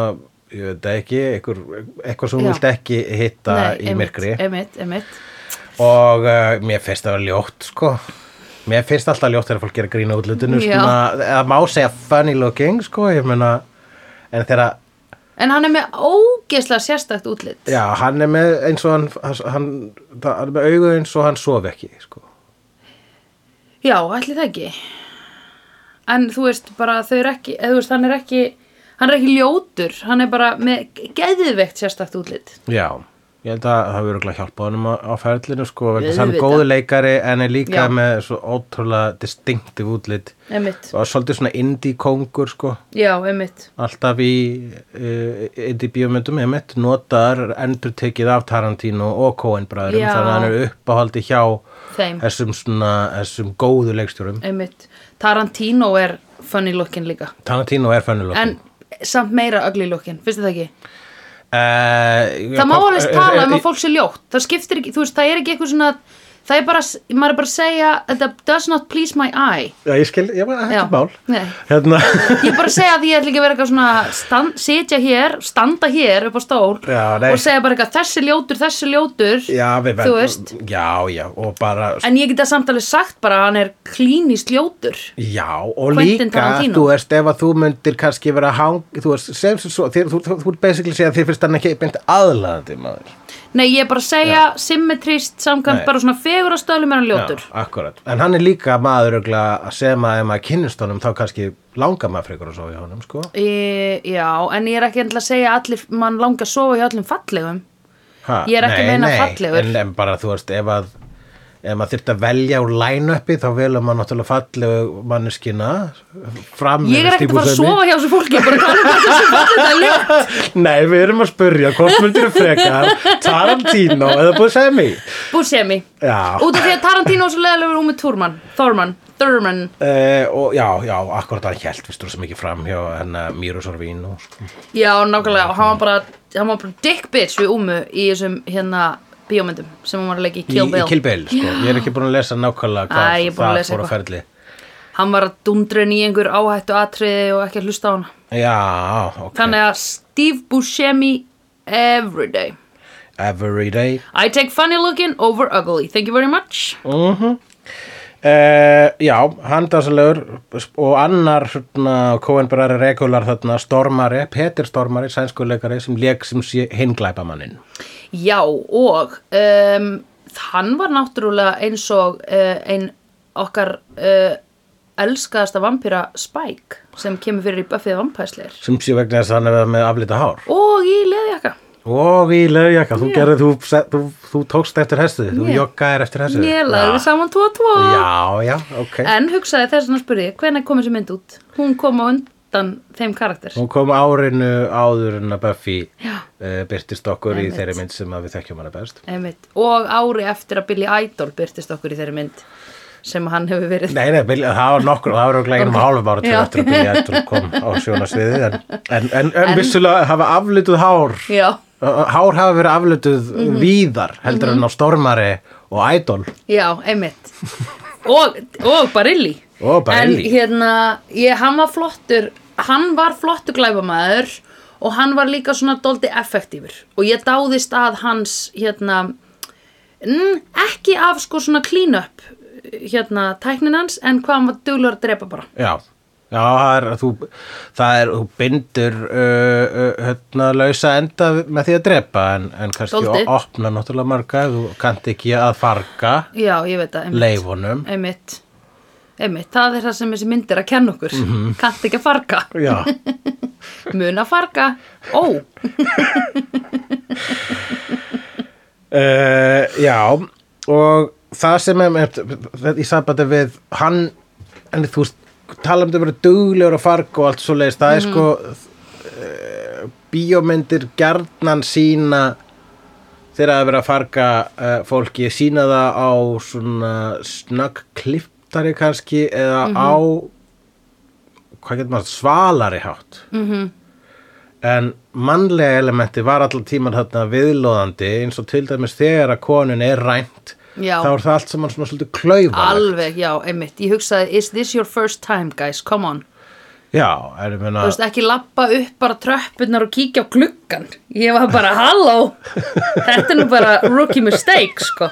ég veit það ekki, einhver, eitthvað sem Já. þú vilt ekki hitta í einmitt, myrkri einmitt, einmitt. og uh, mér finnst það ljótt sko mér finnst alltaf ljótt þegar fólk gera grína útlutinu Já. svona, það má segja funny looking sko, ég meina en þegar en hann er með ógeðslega sérstakt útlit Já, hann er með eins og hann, hann, hann er með augu eins og hann sofi ekki, sko. Já, ætli það ekki. En þú veist bara þau eru ekki, eða þú veist hann er ekki, hann er ekki ljótur, hann er bara með geðveikt sérstakt útlit. Já, ég held að það hefur örugglega hjálpað honum á, á ferlinu sko, vegna þess að hann er Auðvitað. góðu leikari en er líka Já. með svo ótrúlega distinktiv útlit Einmitt. og svolítið svona indie kongur sko, Já, einmitt. alltaf í uh, indie bíómyndum emitt, notar endur tekið af Tarantino og Coen bræðurum Já. þannig að hann er uppáhaldi hjá Þeim. þessum svona, þessum góðu leikstjórum. Einmitt. Tarantino er funny looking líka. Tarantino er fennilokk. En samt meira ugly looking, finnst þið það ekki? uh, Það má alveg tala um að fólk sé ljótt. Það skiptir ekki, þú veist, það er ekki eitthvað svona, það er bara, maður er bara að segja, that does not please my eye. Já, ég skil, ég var Já. ekki mál. Nei. Hérna... Ég er bara að segja að ég ætla ekki að vera eitthvað svona stand, sitja hér, standa hér upp á stól Já, nei. og segja bara eitthvað þessi ljótur, þessi ljótur Já, við þú veist, Já, já, og bara, en ég geta samtalið sagt bara að hann er klínist ljótur já, og Quentin líka, Tarantino. þú veist, ef að þú myndir kannski vera hang, þú veist, sem sem svo, þér, þú, þú, þú, þú er basically segja að þér finnst hann ekki beint aðlaðandi maður. Nei, ég er bara að segja symmetrist samkvæmt Nei. bara svona fegur að stölum er hann ljótur Já, akkurat. En hann er líka maður ögla sem að ef maður kynnist honum, þá kannski langar maður frekar að sofa í honum, sko. e, Já, en ég er ekki endilega að segja að allir, mann langi að sofa hjá öllum fallegum Ha, Ég er ekki að meina fallegur. En, en bara, þú veist, ef að, ef maður þyrfti að velja úr line-upi, þá velur maður náttúrulega fallegu manneskina fram Ég er yfir ekkert að fara að Stífusemi. sofa hjá þessu fólki ég bara tala um bara þessu fallið það er ljótt Nei, við erum að spurja hvort myndir þú frekar Tarantino eða Buscemi Buscemi Já. Út af því að Tarantino er svo leðalegur hún með Thurman Thurman, Thurman Uh, og já, já, akkurat hann hjælt við stúr sem ekki fram hjá hennar Mýru Sorvín og sko. Já, nákvæmlega, og hann var bara, hann var bara dick bitch við Úmu í þessum hérna bíómyndum sem hún var að leika í Kill Bill. í Kill Bill, sko, ég er ekki búin að lesa nákvæmlega Æ, hvað ég er búin að það lesa fór á eitthvað. ferli Hann var að dundrin í einhver áhættu atriði og ekki að hlusta á hana. Já, ok, Þannig að Steve Buscemi every day. every day I take funny looking over ugly. Thank you very much. Mhm. Uh, já, handasalegur og annar svona Coenbrari regular þarna Stormari, Peter Stormari, sænskuleikari sem leik sem sé hinglæpamannin Já, og um, hann var náttúrulega eins og uh, ein okkar uh, elskaðasta vampýra Spike sem kemur fyrir í Buffy vampæsleir sem sé vegna þess að hann er með aflita hár og í leðjaka. og í lögjakka, þú Já. gerði þú, þú, þú tókst eftir hessu, þú Ég- joggaðir eftir hessu Ég lagði saman Eh. tvo og tvo Já, já, ok En hugsaði þess að spurði, hvenær kom þessi mynd út? Hún kom á undan þeim karakter Hún kom árinu áður en að Buffy uh, Já. byrtist okkur í Einmitt. þeirri mynd sem að við þekkjum hana best Einmitt. Og ári eftir að Billy Idol byrtist okkur í þeirri mynd sem hann hefur verið Nei, nei, Bill, það var nokkur, það var okkur einum hálfum ára til Já. eftir að Billy Idol kom á sjónasviðið en, en, en, en vissulega hafa aflituð hár Já, uh, hár hafa verið aflituð Mhm. víðar heldur en á Stormari og Idol já, einmitt Og, og Barilli Og Barilli. En hérna, ég, hann var flottur Hann var flottur glæfamaður Og hann var líka svona doldi effektífur Og ég dáðist að hans hérna n, Ekki af sko svona clean up Hérna tæknin hans En hvað hann var duglur að drepa bara Já, já það er, þú, það er, þú bindur uh, uh, hérna, lausa enda með því að drepa en, en kannski Dálítið. opna náttúrulega marga ef þú kannt ekki að farga Já, ég veit það, einmitt leifunum einmitt, einmitt, það er það sem þessi mynd er að kenna okkur mm Mhm. kannt ekki að farga, Já, mun að farga ó, uh, já og það sem er með, í sambandi við hann, en þú veist tala um þetta að vera duglegur að farga og allt svo leiðist, það er sko bíómyndir gjarnan sína þegar að vera að farga uh, fólki sína það á svona snöggkliftari kannski eða Mhm. á hvað getur maður, svalari hátt -hmm. Mhm. en mannlega elementi var allan tíman þarna viðlóðandi eins og til dæmis þegar að konun er rænt Já. þá er það allt saman svona svolítið klaufalegt alveg, já, einmitt ég hugsaði, is this your first time guys, come on Já, er ég meina þú veist, ekki lappa upp bara tröppurnar og kíkja á gluggan ég var bara, halló þetta er nú bara rookie mistake, sko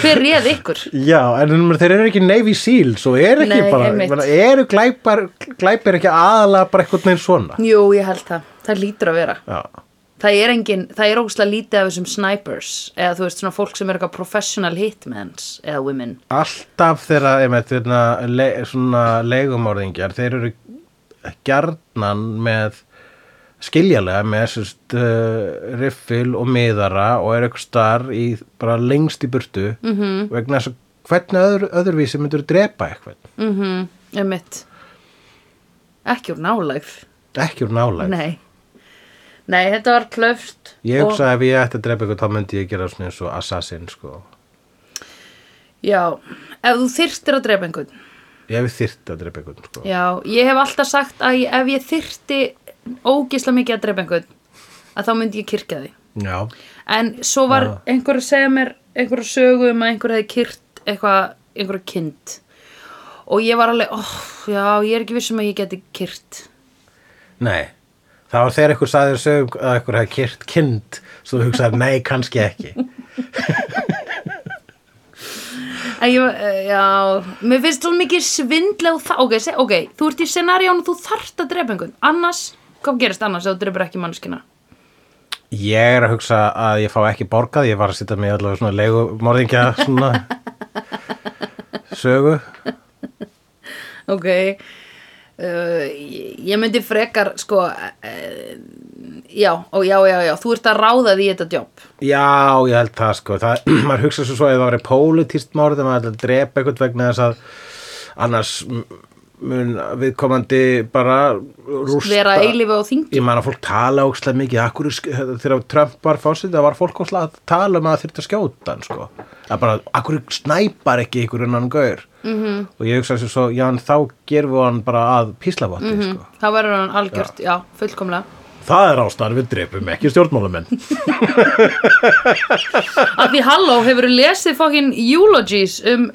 hver réð ykkur? Já, en um, þeir eru ekki Navy Seals og eru ekki Nei, bara, einmitt. menna, eru glæpar, glæpar ekki aðalega bara eitthvað neins svona Jú, ég held það, það lítur að vera Já, það er engin, það er ógustlega lítið af þessum snipers, eða þú veist, svona fólk sem er eitthvað professional hitmans, eða women alltaf þeirra, einmitt, þeirna, le, svona legumorðingjar, þeir eru gjarnan með skiljalega með sérst, uh, riffil og miðara og er eitthvað starf í bara lengst í burtu -hmm. vegna þess að hvernig öðru, öðruvísi myndur drepa eitthvað, Mhm, einmitt Ekki úr nálægð ekki úr nálæg Nei Nei, þetta var klöft Ég hugsaði ef ég ætti að drepa eitthvað þá myndi ég gera svona eins og assassin sko. Já, ef þú þyrftir að drepa einhvern Ég hef þyrt að drepa einhvern sko. Já, ég hef alltaf sagt að ég, ef ég þyrfti ógisla mikið að drepa einhvern að þá myndi ég kyrkja því Já. En svo var einhver að segja mér einhver að sögu um að einhver hefði kyrt eitthvað, einhver kind og ég var alveg, óh, já, ég er ekki viss um að ég geti kyrt Nei. Það var þegar einhver sagði sögum að einhver hefði kyrt kind svo þú hugsaði nei, kannski ekki. En ég, eh, já, mér finnst svo mikið svindla og það, ok, se, ok, þú ert í scenarión og þú þarft að drepa einhvern, annars, hvað gerist annars ef þú drefur ekki mannskina? Ég er að hugsa að ég fá ekki borgað ég var að sitja með allavega svona legumorðingja svona sögu. Ok, uh, ég ég myndi frekar, sko, uh, já, ó, já, já, já, þú ert að ráða því í þetta jobb. Já, ég held það sko. Það, maður hugsa svo svo að það væri pólitíst morð þegar maður ætla að drepa einhvern vegna þess að annars m- mun viðkomandi bara rústa. Vera eilífi á þingi. Ég man að fólk tala ógstlega mikið akkur, eh, þegar Trump var fósitt það var fólk ógstlega að tala um að það þyrfti að skjóta hann sko. að bara, akkur snæpar ekki ykkur innan gaur -hmm. og ég hugsa þessu svo, já en þá gerum við hann bara að píslavotti sko. Þá verður hann algjört, já, fullkomlega. það er ástæðan við dreipum ekki stjórnmálamenn Af því halló, hefur þú lesið fokkin eulogies um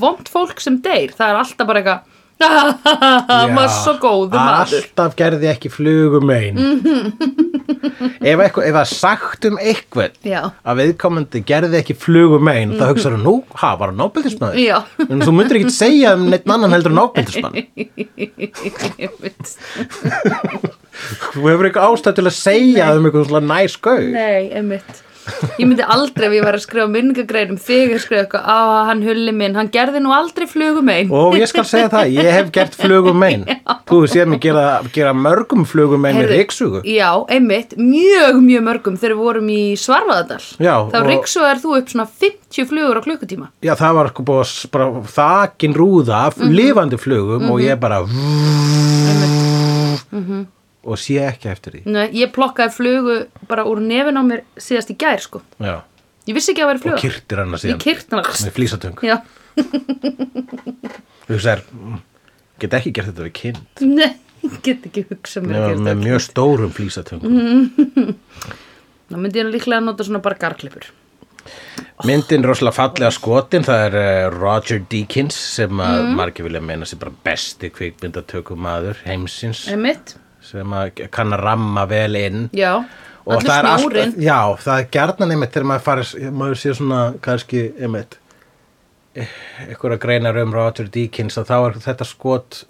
vond fólk sem deyr? Það er alltaf bara eitthvað, hann var svo góðu maður. Mhm. alltaf gerði ekki flugum einn ef, eitthvað, ef það er sagt um eitthvað Já. að viðkomandi gerði ekki flugum einn þá hugsaðu nú, ha, var hann nábældismæður Já. en þú myndir ekki segja um neitt annan heldur nábældismæður Einmitt. þú hefur eitthvað ástæð til að segja um eitthvað svona næs gau Nei, einmitt ég myndi aldrei ef ég var að skrifa minningagrein um þig að skrifa eitthvað, á hann hulli minn hann gerði nú aldrei flugum einn og ég skal segja það, ég hef gert flugum mein þú hefur séð mig gera, gera mörgum flugum mein með ríksugu já, einmitt, mjög, mjög mörgum þegar við vorum í Svarfaðardal Já, þá og- ríksugar þú upp svona 50 flugur á klukkutíma já það var sko búið að s- bara þakin rúða af Mhm. lifandi flugum og ég bara Mhm. og sé ekki eftir því Nei, ég plokkaði flugu bara úr nefin á mér síðast í gær sko já. ég vissi ekki að vera og fluga kyrtir hana ég síðan kyrt hana með flýsatöng já, þú sér, mm, get ekki gert þetta við kyn nei, ég get ekki hugsað mér að gera Nefnum með þetta. Mhm. mjög stórum flýsatöngum þá myndi ég nú líklega að nota svona bara garklippur Myndin er rosalega fallega skotin það er eh, Roger Deakins sem að Mhm. margir vilja meina sem bara besti kvikmyndatökumadur heimsins einmitt, sem að kann að ramma vel inn já og allur það er snjórinn. alltaf, já, það er gjarnan einmitt þegar maður farið, maður sé svona kannski einmitt einhverja greinar um Roger Deakins að þá er þetta skot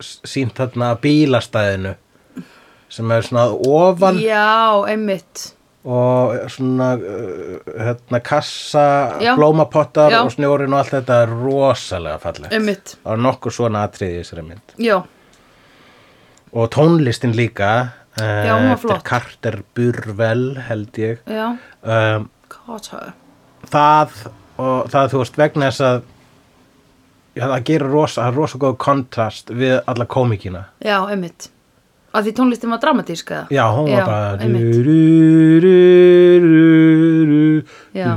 s- sýnt þarna að bílastæðinu sem er svona að ofan Já, einmitt og svona uh, hérna kassa, Já. blómapottar Já. og snjórin og allt þetta er rosalega fallegt. Einmitt. Það er nokkur svona atriði í þessari mynd. Já, Og tónlistin líka eh, Já, hún var eftir flott. Carter Burwell held ég. já, Um, kata það og það þú veist vegna þess að já, það gerir rosa, það er rosa góð kontrast við alla komikina. Já, einmitt Að því tónlistin var dramatísk eða? Já, hún var bara einmitt. Já. Já.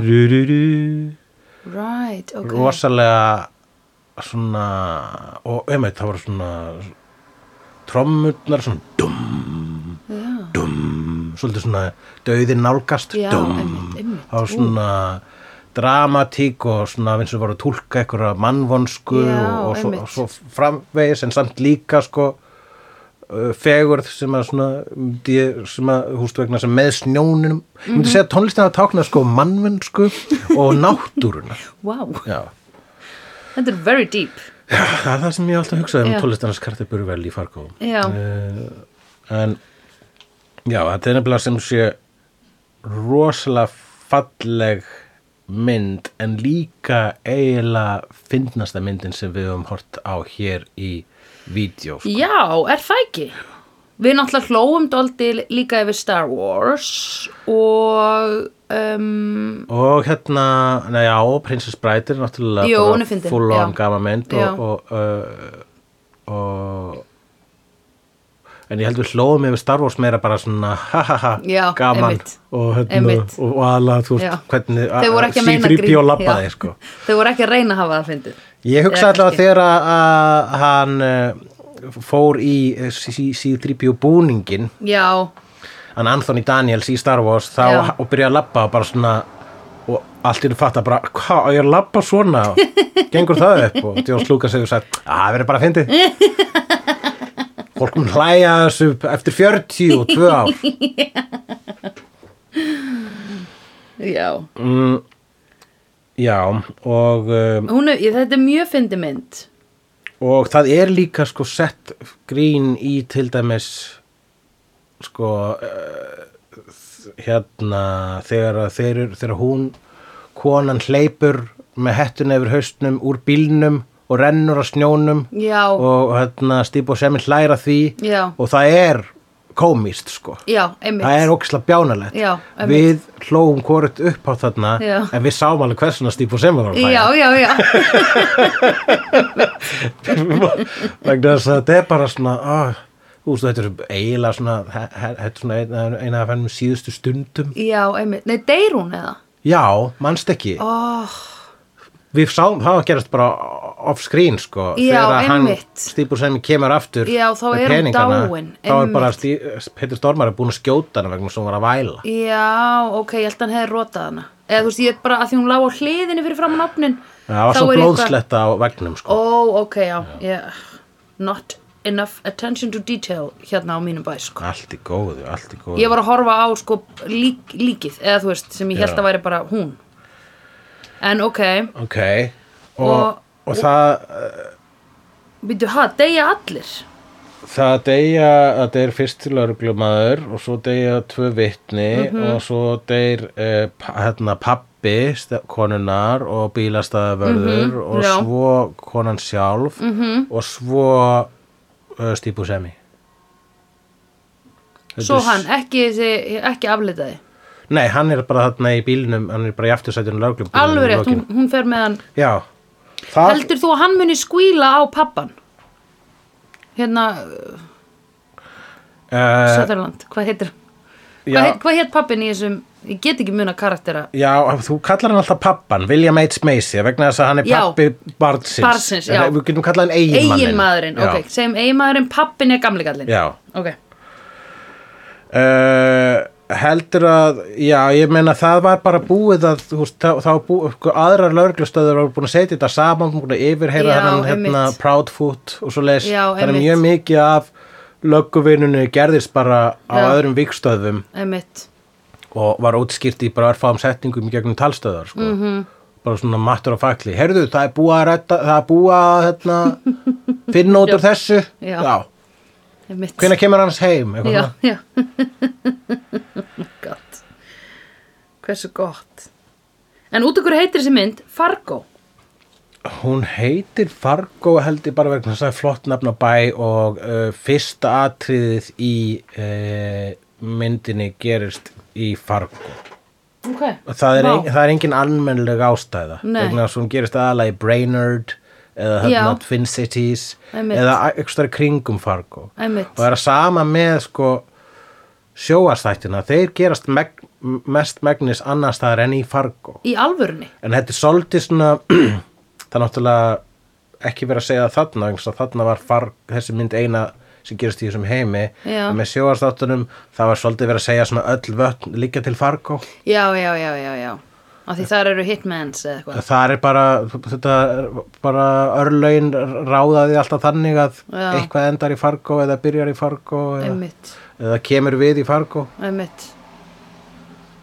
Right, ok rosalega svona og einmitt það var svona trommurnar svona dum, Já, dum svolítið svona döðin nálgast Já, dum, einmitt, einmitt, það var svona dramatík og svona eins og var að tólka einhverja mannvonsku Já, og, og, svo, einmitt. og svo framvegis en samt líka sko uh, fegurð sem að svona myndi ég- sem að húst vegna sem með snjónunum ég Mhm. myndi segja að tónlistina að tákna sko mannvonsku og náttúruna wow, já þetta er very deep Það er það sem ég alltaf hugsaði Já. um tónlistarnas Carter Burwell í Fargo. Já. Uh, en, já, þetta er nefnilega sem sé rosalega falleg mynd en líka eiginlega fyndnasta myndin sem við höfum hort á hér í vídeo. sko. Já, er það ekki? Við náttúrulega hlóum dóldi líka yfir Star Wars og um, Og hérna, neða, já, Princess Bride er náttúrulega Jú, bara hún er fyndin, full já. on gama mynd Já. og, og, uh, og en ég held við hlóðum yfir Star Wars meira bara svona ha ha ha, Já, gaman einmitt. og, hérna, Einmitt. og, og ala, þú Já. veist, hvernig Þau voru ekki að meina sífri bjó grín, já. labbaði, sko Þau voru ekki að reyna að hafa það fyndið Ég hugsa Eða alltaf að kannski. þegar að- að hann uh, fór í sífri bjó búningin Já, hann Anthony Daniels í Star Wars þá Já. og byrja að labba og bara svona og allt í einu fatta bara hvað, á ég að labba svona gengur það upp og Jóns Lukas hefur sagt að það verður bara að fyndi fólk mun hlæja að þessu eftir 40 og 2 ár já Mm. já og, um, Hún er, Þetta er mjög fyndið mynd og það er líka sko sett grín í til dæmis sko uh, hérna þegar, að þeir, eru- þegar hún konan hleypur með hettun yfir haustnum úr bílnum og rennur á snjónum Já, og hérna stíp og semir hlæra því Já. og það er komist sko já, einmitt það er ógislega bjánalegt Já, við hlóum hvort upp á þarna Já. en við sáum alveg hversuna stíp og semir var að hlæja Já, já, já vegna þess að þetta er bara svona ah, úst, þetta er eiginlega svona he- he- þetta er svona eina, eina af hennum síðustu stundum Já, einmitt. Nei, deyr hún eða? já, manst ekki Oh, við sáum það að gerast bara off screen sko Já, þegar að hann einmitt. stípur sem kemur aftur Já, þá með er hún peningana, dáin, þá er bara einmitt. stí, Petur Stormar er búin að skjóta hana vegna sem hún var að væla já, ok, ég held að hann hefði rotað hana. Eða þú veist, ég er bara að því hún lág á hliðinni fyrir framann opnin. það var þá svo er eitthvað- blóðsletta á vegnum sko Ó, ok, já, ég, not enough attention to detail hérna á mínum bæ, sko. allt í góðu, allt í góðu Ég var að horfa á, sko, lík, líkið, eða þú veist, sem ég held Já. að væri bara hún. En ok, ok, og, Og- og, það býtu, ha, deyja allir? það deyja að deyr fyrst til örglumæður og svo deyja tvö vitni Mhm. og svo deyr eh, pa- hérna, pappi ste- konunar og bílastæðavörður og Mhm, já. Mhm. svo konan sjálf -hmm. og svo uh, stípu semi Þetta Svo er s- hann, ekki, þessi- ekki aflitaði Nei, hann er bara þarna í bílnum, hann er bara í aftursætjunum lögreglubílnum í Alveg rétt, hún, lokinu. hún fer með hann Já, það, Heldur þú að hann muni skvíla á pappan? Hérna, uh, Söderland, hvað heitir hann? já, Hvað heit, hvað heit pappin í þessum, ég get ekki muna karaktera já, þú kallar hann alltaf pappan, William H. Macy, vegna þess að hann er Já. pappi barnsins. Barnsins, já. En Við getum kallað hann eiginmannin. Eiginmaðurinn, ok, segjum eiginmaðurinn, pappin er gamli gallin Já, Ok, já. Uh, heldur að, já, ég meina það var bara búið að, þú veist, þá, þá bú, sko, aðrar lögreglustöður voru búin að setja þetta saman, búin að yfirheyra Já, þennan, hérna, einmitt. Proudfoot og svo leis. Já, það er einmitt. mjög mikið af lögguvinunni gerðist bara á Já. öðrum vikstöðum. einmitt og var útskýrt í bara erfáum setningum í gegnum talstöðar sko. bara svona mattur og fakli heyrðu það er búið að, retta, það er búið að hérna, finna út úr þessu Já. Einmitt. hvenær kemur hans heim Eitthvað Já, svona. já Gott Hversu gott En út okkur heitir þessi mynd Fargo hún heitir Fargo heldur bara vegna þess að það er flott nafn á bæ og uh, fyrsta atriðið í uh, myndinni gerist í Fargo okay. Og það er, Vá. ein, það er engin almennileg ástæða Nei. vegna þess að hún gerist aðalega í Brainerd eða Já. hérna, Twin Cities Einmitt. eða eitthvað stær kringum Fargo Einmitt. og er að sama með sko sjóastættina, þeir gerast meg, mest megnis annars staðar enn í Fargo Í alvörunni en þetta er svolítið svona það er náttúrulega ekki verið að segja það þarna vegna þess að þarna var far, þessi mynd eina sem gerist í þessum heimi Já. en með sjóastáttunum það var svolítið verið að segja svona öll vötn líka til Fargo Já, já, já, já, já Af því þar eru hitmans eða eitthvað það er bara, þetta, er bara örlögin ráðaði alltaf þannig að Já. eitthvað endar í Fargo eða byrjar í Fargo eða, Einmitt, eða kemur við í Fargo einmitt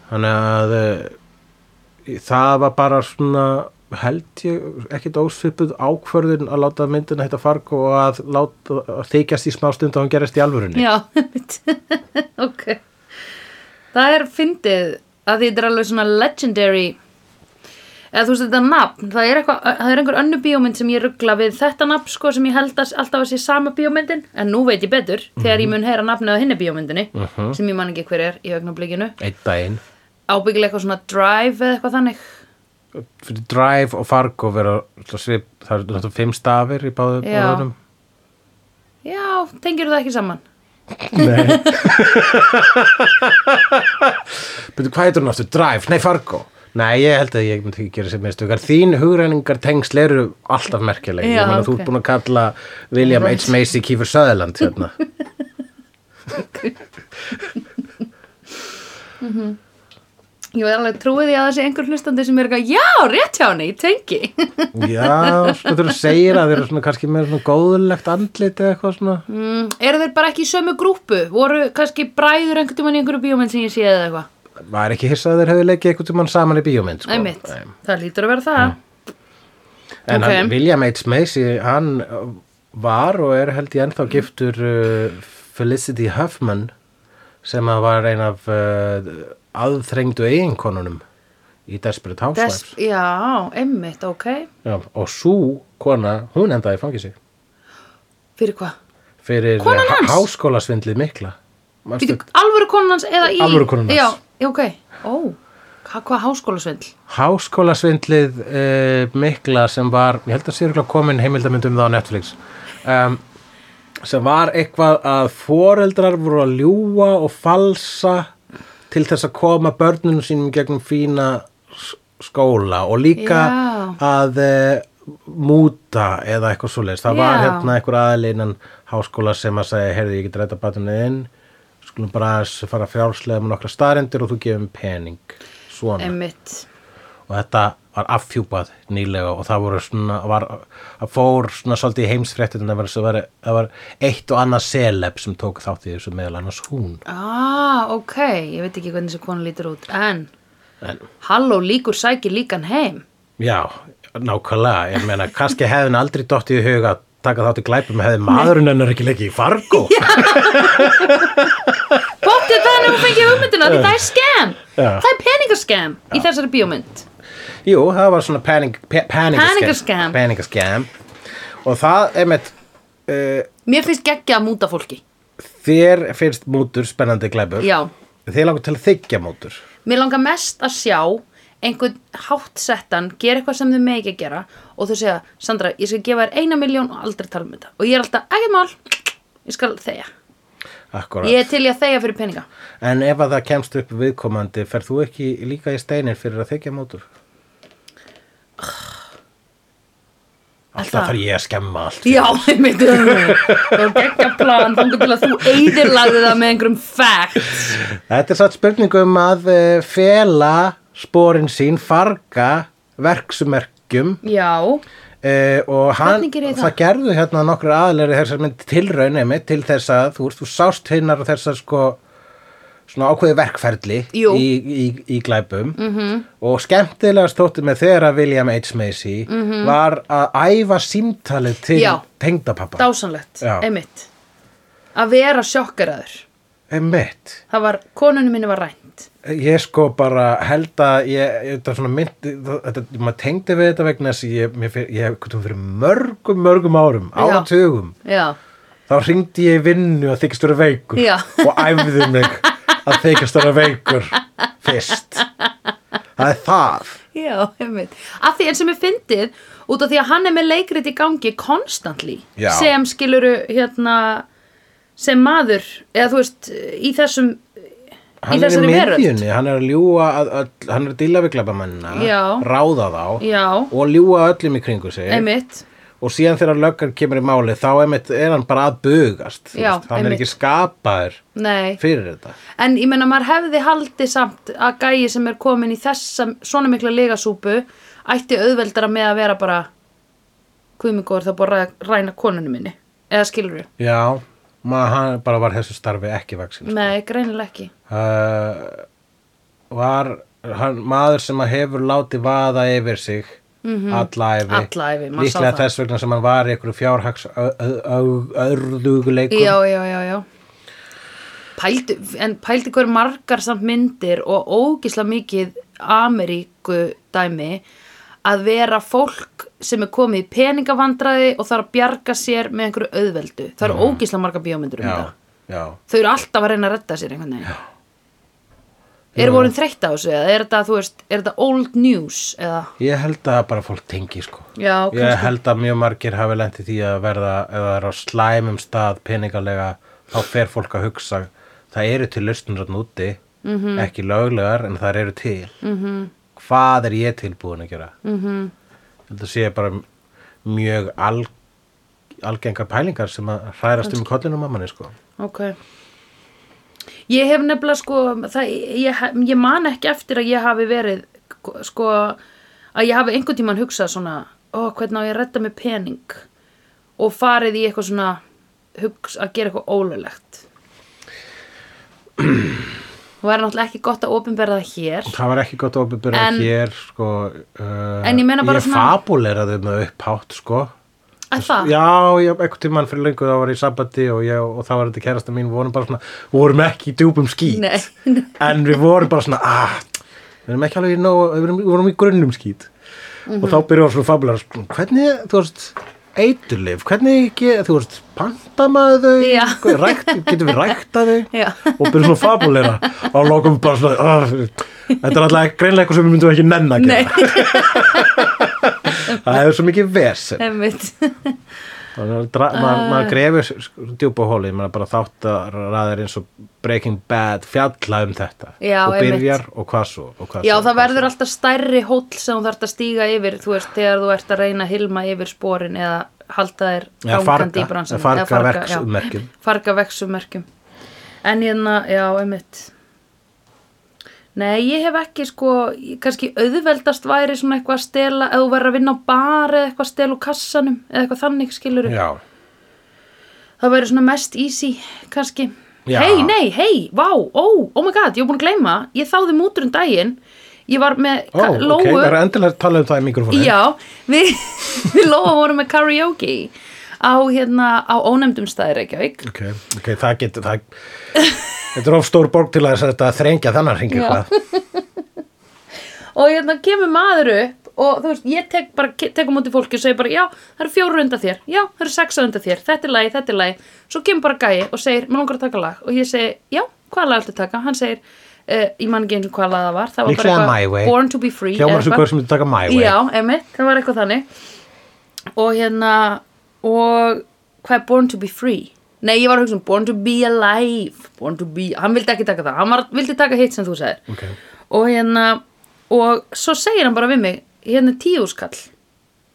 þannig að eh, það var bara svona held ég ekkit ósvipuð ákvörðun að láta myndina heita Fargo og að, láta, að þykjast í smá stund að hún gerist í alvörunni Já, einmitt Ok Það er fyndið að því þetta er alveg svona legendary eða þú veist þetta nafn, það er, eitthva, það er einhver önnu bíómynd sem ég ruggla við þetta nafn sko sem ég held að alltaf að sé sama bíómyndin en nú veit ég betur þegar ég mun heyra nafnið á hinni bíómyndinni sem ég man ekki hver er í augnablikinu einn daginn ábyggilega eitthvað svona drive eða eitthvað þannig fyrir Drive og Fargo vera svona svip, það eru náttúrulega fimm stafir í báðum Já. Já, tengir það ekki saman Nei Betur, hvað heitur hún aftur? Drive? Nei, Fargo Nei, ég held að ég myndi ekki gera sér mistökar Þín hugræningar tengsl eru alltaf merkjuleg Já, Ég meina þú ok. ert búin að kalla William Right. H. Macy Kífur Söðaland hérna. Ég var alveg trúið því að það sé einhver hlustandi sem er eitthvað, já, rétt hjá henni, ég tengi Já, svona þú segir að þeir eru svona kannski með svona góðlegt andlit eða eitthvað svona Mm, eru þeir bara ekki í sömu grúpu? Voru kannski bræður einhvern tímann í einhverju bíómynd sem ég séð eða eitthvað? Var ekki hissa að þeir hefðu leikið eitthvað tímann saman í bíómynd sko. Nei mitt, það lítur að vera það. En Ok. hann, William H. Macy, hann uh, var og er held ég ennþá giftur uh, Felicity Huffman sem að var ein af uh, aðþrengdu eiginkonunum í Desperate Housewives. Des, já, einmitt, ok. Já, og sú kona, hún endaði í fangi sig Fyrir hvað? fyrir Konan hans? háskólasvindlið mikla. Manstu- Býtu, alvöru konan hans eða í... Alvöru konan hans. Já, ok. Ó, hvað, hvað háskólasvindl? háskólasvindlið uh, mikla sem var, ég held að sé ykkur komin heimildamynd um það á Netflix um, sem var eitthvað að foreldrar voru að ljúga og falsa til þess að koma börnunum sínum í gegnum fína s- skóla og líka Já. að uh, múta eða eitthvað svoleiðis það var Já. hérna einhver aðli innan háskóla sem að segja, heyrðu ég get rætta batinu inn skulum bara aðeins fara frjálslega með nokkra starendir og þú gefum pening svona Einmitt. og þetta var afhjúpað nýlega og það voru svona var, það fór svona svolítið í heimsfréttin það var, það var, það var eitt og annað seleb sem tók þátt í þessu meðal annars hún Ah, ok. Ég veit ekki hvernig þessi konu lítur út. En, en, halló, líkur sækir líkan heim. já, nákvæmlega ég meina, kannski hefðin aldrei dottið í huga taka þátt í glæpum hefði maðurinn hennar ekki leikið í Fargo Bóttið þannig að hún fengið hugmyndina því það er skam Já. Það er peningaskam í þessari bíómynd Jú, það var svona panik, pa- Panikascam. panikascam Panikascam Og það, einmitt uh, Mér finnst geggja að múta fólki Þér finnst mútur spennandi glæpur Já. Þið langar til að þykja mútur Mér langar mest að sjá einhvern háttsettan gera eitthvað sem þau megi ekki að gera og þau segja, Sandra, ég skal gefa þér eina miljón og aldrei tala um þetta og ég er alltaf, ekkert mál, ég skal þegja Akkurat ég er til í að þegja fyrir peninga En ef að það kemst upp viðkomandi Ferð þú ekki líka í steinir fyrir að þykja mútur? Alltaf það? þarf ég að skemma allt Já, ég veit það Það var geggja plan, þangar til að þú eðirlagði það með einhverjum facts Þetta er satt spurningum að eh, fela sporin sín farga verksmerkjum Já, Uh, og hann, Hvernig gerir þið það? það? gerðu hérna nokkur aðlega þessar mynd tilraun einmitt til þess að þú veist, þú sást hinnar og þessar sko svona ákveði verkferli Jú. Mhm. í, í, í glæpum -hmm. og skemmtilegast þótti með þegar að William H. Macy -hmm. var að æfa símtalið til Mhm. Já. tengdapappa dásanlegt, Já. einmitt Að vera sjokkaraður einmitt Það var, konunum minni var rænt Ég sko bara held að ég, ég þetta er svona myndi, þetta, maður tengdi við þetta vegna þess að ég, mér fyr- ég, ég fyrir mörgum, mörgum árum, Já. áratugum, Já, þú þá ringdi ég í vinnu að þykist vera veikur Já. og æfði mig að þykist vera veikur fyrst. Það er það. Já, einmitt. Að því eins og mér fyndið, út af því að hann er með leikrit í gangi konstantli Já. sem skiluru hérna sem maður, eða þú veist í þessum, í Hann er í þessari veröld miðjunni, hann er að ljúga, að, öll- hann er að díla við glæbamennina, Já. ráða þá Já. og ljúga öllum í kringu sig. einmitt, og síðan þegar löggan kemur í máli þá einmitt er hann bara að bugast þú Já, veist, hann einmitt. er ekki skapaður nei fyrir þetta en ég meina maður hefði haldið samt að gæi sem er komin í þessa svona mikla legasúpu ætti auðveldara með að vera bara guðmigóður það búið að ræ- ræna konunum minni eða skilur við, já, maður hann bara var þessu starfi ekki vaksin uh, nei greinilega ekki Eh, var hann, maður sem að hefur látið vaða yfir sig mm -hmm. allæfi, Mhm. Alla ævi, maður sá líklega það. þess vegna sem hann var í einhverju fjárhags örðuguleikum já, já, já, já. Pældu, en pældi hver margar samt myndir og ógisla mikið Ameríku dæmi að vera fólk sem er komið í peningavandræði og þarf að bjarga sér með einhverju auðveldu. Það eru ógisla margar bíómyndur um já, það. já. Þau eru alltaf að reyna að redda sér einhvern veginn. Er vorin þreytt á þessu eða er þetta, þú veist, er þetta old news eða? Ég held að bara fólk tengi sko. Já, ég kannski. held að mjög margir hafi lent í því að verða, ef það er á slæmum stað peningalega, þá fer fólk að hugsa, það eru til lausnur þarna úti, Mhm. -hmm. ekki löglegar, en það eru til. -hmm. Hvað er ég tilbúin að gera? -hmm. Mhm. Þetta sé bara mjög alg, algengar pælingar sem að hrærast um í kollinum mammanni sko. Ok. Ég hef nefnilega sko, það, ég, ég man ekki eftir að ég hafi verið sko, að ég hafi einhvern tímann hugsað svona, ó, hvernig á ég að redda með pening og farið í eitthvað svona hugs að gera eitthvað ólulegt. Það væri náttúrulega ekki gott að opinberða það hér. Það var ekki gott opinbyrða En- hér sko. Uh, En ég meina bara ég svona- fabuleraði með upphátt sko. Að það? Já, ég, einhvern tímann fyrir löngu þá var ég í sambandi og, ég, og þá var þetta kærasta mín við vorum bara svona, við vorum ekki í djúpum skít Nei. en við vorum bara svona ah, við erum ekki alveg í nóg við erum, við vorum í grunnum skít og Mhm. þá byrjum við svona fabular sko, hvernig, þú veist, eiturlif hvernig, ge- þú veist, pantamaðu þau Já. Hvað- rækt, getum við rækta þau Já. og byrjum svona fabulera og lókum bara svona ah, þetta er alltaf greinlega eitthvað sem við myndum ekki nenn að gera Nei, það er svo mikið vesen einmitt. maður, dra- Ah. maður, maður grefur sko, sk- djúpa hóli, maður bara þátt að ræðir eins og Breaking Bad fjalla um þetta Já, og einmitt. byrjar og hvað svo og hvað Já, svo, það hvað svo. verður alltaf stærri hóll sem þú þarft að stíga yfir, þú veist, þegar þú ert að reyna að hilma yfir sporin eða halda þér Eða gangandi farga, í bransan. eða farga verksummerkjum. Farga vexummerkjum. En hérna, já, einmitt. Nei, ég hef ekki sko, ég- kannski auðveldast væri svona eitthvað að stela, eða þú verður að vinna á bar eða eitthvað að stela úr kassanum eða eitthvað þannig skilur. Já, Það væri svona mest easy, kannski. Já. Hei, nei, hei, vá, ó, oh my god, ég var búin að gleyma, ég þáði mútur um daginn, ég var með ó, ka- ok, það er endilega að tala um það í mikrofónu Já, við, við Lóa vorum með karaoke á, hérna, á ónefndum staði Reykjavík ok, ok, það getur það... þetta er of stór borg til að þetta þrengja þannig hringi Já. hvað og hérna kemur maður upp og þú veist, ég tek bara, tek á móti fólki og segir bara, já, það eru fjóru undan þér já, það eru sexa undan þér, þetta er lagi, þetta er lagi svo kemur bara gæi og segir, maður langar að taka lag og ég segi, já, hvaða lag ættu að taka hann segir, uh, ég man ekki eins og hvaða lag það var það var Líklega bara My Way. Born to be Free eða hljómar þessu eitthvað. hver sem þetta taka my way Já, emitt, það var eitthvað þannig Og hérna Og hvað er Born to be free? Nei, ég var að hugsa um Born to be alive Born to be, hann vildi ekki taka það Hann var, vildi taka hitt sem þú sagðir Ok. Og hérna, og svo segir hann bara við mig Hérna tíðúskall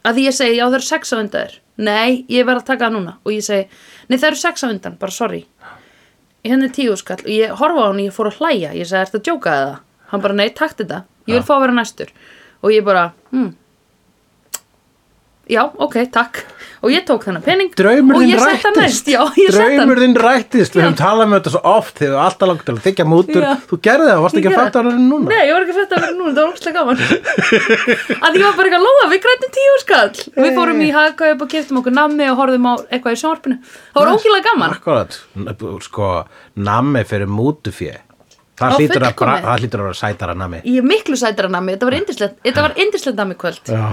Að því ég segi, já það eru sex á undan þér Nei, ég verð að taka það núna Og ég segi, nei það eru sex á undan, bara sorry Hérna tíðúskall Og ég horfa á hann og ég fór að hlæja Ég segi, ertu að djóka eða? Hann bara, nei, takt þetta Ég vil fá að vera næstur Og ég bara, hm Já, ok, takk Og ég tók þennan pening Draumur og þinn ég setti hann rættist næst, já, ég setti hann. Draumur þinn rættist Við Já. höfum talað með þetta svo oft Þegar við alltaf langt til að þykja mútur Já. Þú gerði það, varst Ég ekki að gerði fatta hann núna Nei, ég var ekki að fatta að vera núna, það var ógstlega gaman Að ég var bara eitthvað lóa, við grættum tíu skall Við fórum í hagkaup og keftum okkur nammi og horfðum á eitthvað í sjónvarpinu Það var ógstlega gaman Akkurat, sko, nammi fyrir Á, mútufjö Það hlýtur að, bra- fullkomið. það hlýtur að vera sætara nammi Ég er miklu sætara nammi, þetta var indislegt, þetta var indislegt nammi kvöld Já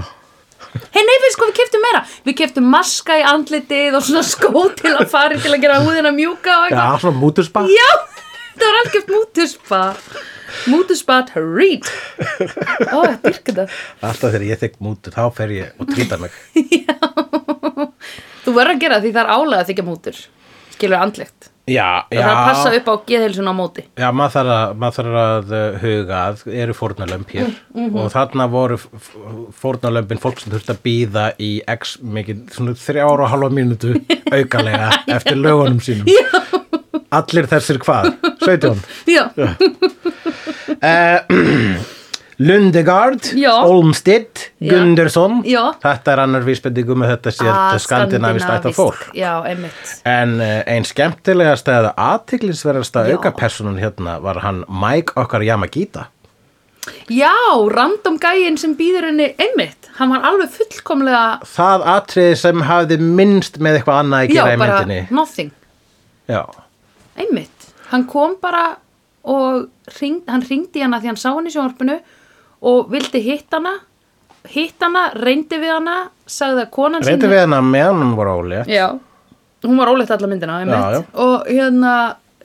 Hei, nei, við sko, við keftum meira Við keftum maska í andlitið og svona skó til að fari til að gera húðina mjúka og Já, eitthvað svona mútuspa Já, þetta var algjört mútuspa Mútuspa treat Ó, ég dyrka þetta Alltaf þegar ég þykk mútur, þá fer ég og trýta mig Þú verður að gera það því það er álega að þykja mútur Skilur andlegt Já, og það passa já upp á geðhilsun á móti Já, maður þarf að, maður þarf að uh, huga að eru fórnalömb hér Mm, mhm. og þarna voru f- f- fórnalömbin fólk sem þurfti að býða í x mikið, svona þrjára og halva mínútu aukalega eftir lögunum sínum Já. Allir þessir hvað? 17 já, uh, Lundegard Já. Olmstedt, Já. Gundersson Já. Ah, Þetta er annar vísbendingu með þetta sér Að skandinavist ætta fólk já, einmitt En uh, ein skemmtilegasta eða aðtiklisverðasta Já. aukapersonun hérna var hann Mike okkar Yamagita. já, random gæinn sem býður henni einmitt, hann var alveg fullkomlega Það atriði sem hafði minnst með eitthvað annað að já, gera í bara myndinni. nothing Já, einmitt, hann kom bara og ring, hann ringdi hana því hann sá hann í sjónvarpinu og vildi hitt hana hitt hana, reyndi við hana sagði að konan sín- reyndi við hana meðan hún var ólega. Já, hún var óleitt alla myndina einmitt. Já, já. og hérna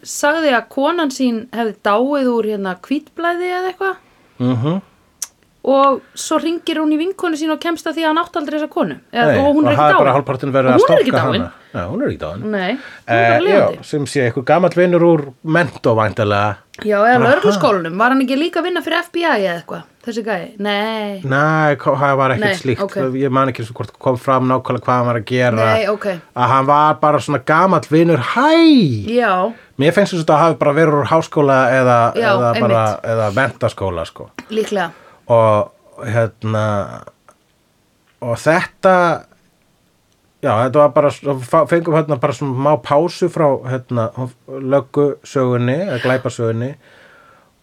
sagði að konan sín hefði dáið úr hérna hvítblæði eða eitthvað Mm og svo ringir hún í vinkonu sín og kemst að því að hann átt aldrei þessa konu eða, og hún og er það er bara ekki hálfpartin dáin verið að hún er ekki stokka dáin hana. Já, hún er ekki dáin. Nei, hún er Eh, bara já, lefandi sem sé eitthvað gamall vinnur úr mentó væntalega. Já, eða lörglaskólanum, var hann ekki líka að vinna fyrir FBI eða eitthvað, þessi gæi Nei, Nei, ko- það var ekkert Nei, slíkt. ok. Ég man ekki svo hvort kom fram nákvæmlega hvað hann var að gera. nei, ok Að hann var bara svona gamall vinnur, hæ! Já, Mér finnst þess að það hafi bara verið úr háskóla eða, Já, eða, bara, einmitt. eða mentaskóla sko. líklega og hérna og þetta já þetta var bara svo- fá- fengum hérna bara svona má pásu frá hérna löggusögunni eða glæpasögunni